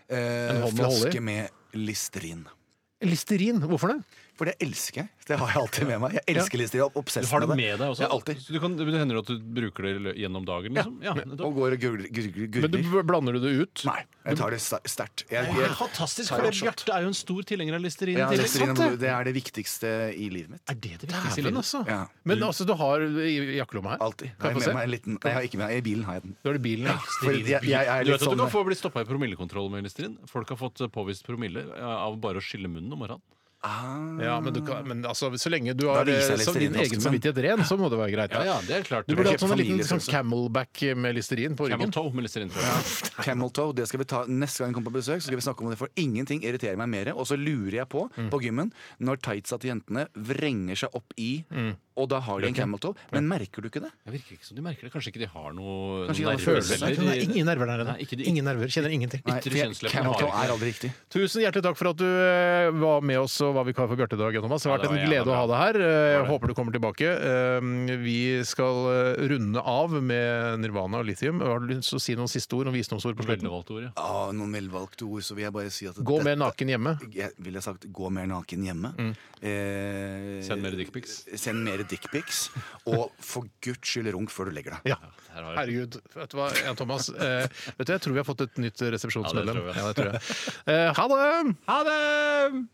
eh, hånd å holde i. flaske med Listerin. Listerin. Hvorfor det? For det elsker jeg. Det har jeg alltid med meg. Jeg elsker Listerin. Jeg er obsess Du har det med deg også? Ja, alltid. Så du kan, det hender at du bruker det i lø- gjennom dagen? Liksom. Ja. nettopp. Og går og gurgler. gurgler, Men gurgler. du, blander du det ut? Nei, jeg tar det sta- sterkt. Jeg, jeg, Fantastisk, for for det- Bjarte er jo en stor tilhenger av Listerin. ja, i tillegg. Listerine, Sant det? det er det viktigste i livet mitt. Er det det viktigste i Dæven, livet? altså. Ja. Men altså, du har i i jakkelomma her? Alltid. Har jeg Kan jeg få med se? meg en liten Nei, jeg har ikke med meg. I bilen har jeg den. Du har det i bilen, ja. For jeg, jeg, er Du litt vet at du sånn kan få bli stoppa i promillekontroll med Listerin? Folk har fått eh, påvist promille eh, av bare å skylle munnen om morgenen. ah, ja men, du kan, men altså, så lenge du har Da viser jeg eh, så, Listerin din også, egen men- samvittighet ren, så må det være greit. det er klart. Du burde hatt sånn en familie, liten sånn sånn. camelback med listerin på Camel ryggen. toe med Listerin. tror jeg. Camel toe, det skal vi ta neste gang jeg kommer på besøk. Så skal vi snakke om det, for ingenting irriterer meg mer. Og så lurer jeg på, på gymmen, når tightsa til jentene vrenger seg opp i, og da har de en camel toe. Men merker du ikke det? Det virker ikke som de merker det. Kanskje ikke de har noe Kanskje ikke de noen har følelser. nervefeller Nei, i- ingen nerver der Nei, ikke inne. de- Ingen nerver, kjenner ingenting. Nei, Ytre for jeg- kjønnsleppen camel har toe ikke er aldri riktig. Tusen hjertelig takk for at du eh, var med oss og var vikar for Bjarte i dag, Thomas. Det har Ja, det vært en var jævla glede å ha deg bra. her. Eh, Jeg håper du kommer tilbake. Eh, Vi skal eh, runde av med Nirvana og Lithium. Har du lyst til å si noen siste ord, noen visdomsord på slutten? Velvalgte ord, ja. Ah, noen velvalgte ord, så vil jeg bare si at Gå mer dette- naken Mm. hjemme. jeg ville sagt gå mer naken hjemme. Eh, Send mer dickpics. Send mer dickpics. Og for guds skyld runk før du legger deg. Ja. Her har jeg- Herregud. Vet du hva, Jan Thomas? Eh, vet du, jeg tror vi har fått et nytt Ja, det tror resepsjonsmedlem. jeg. Ja, det tror jeg. Eh, ha det! Ha det!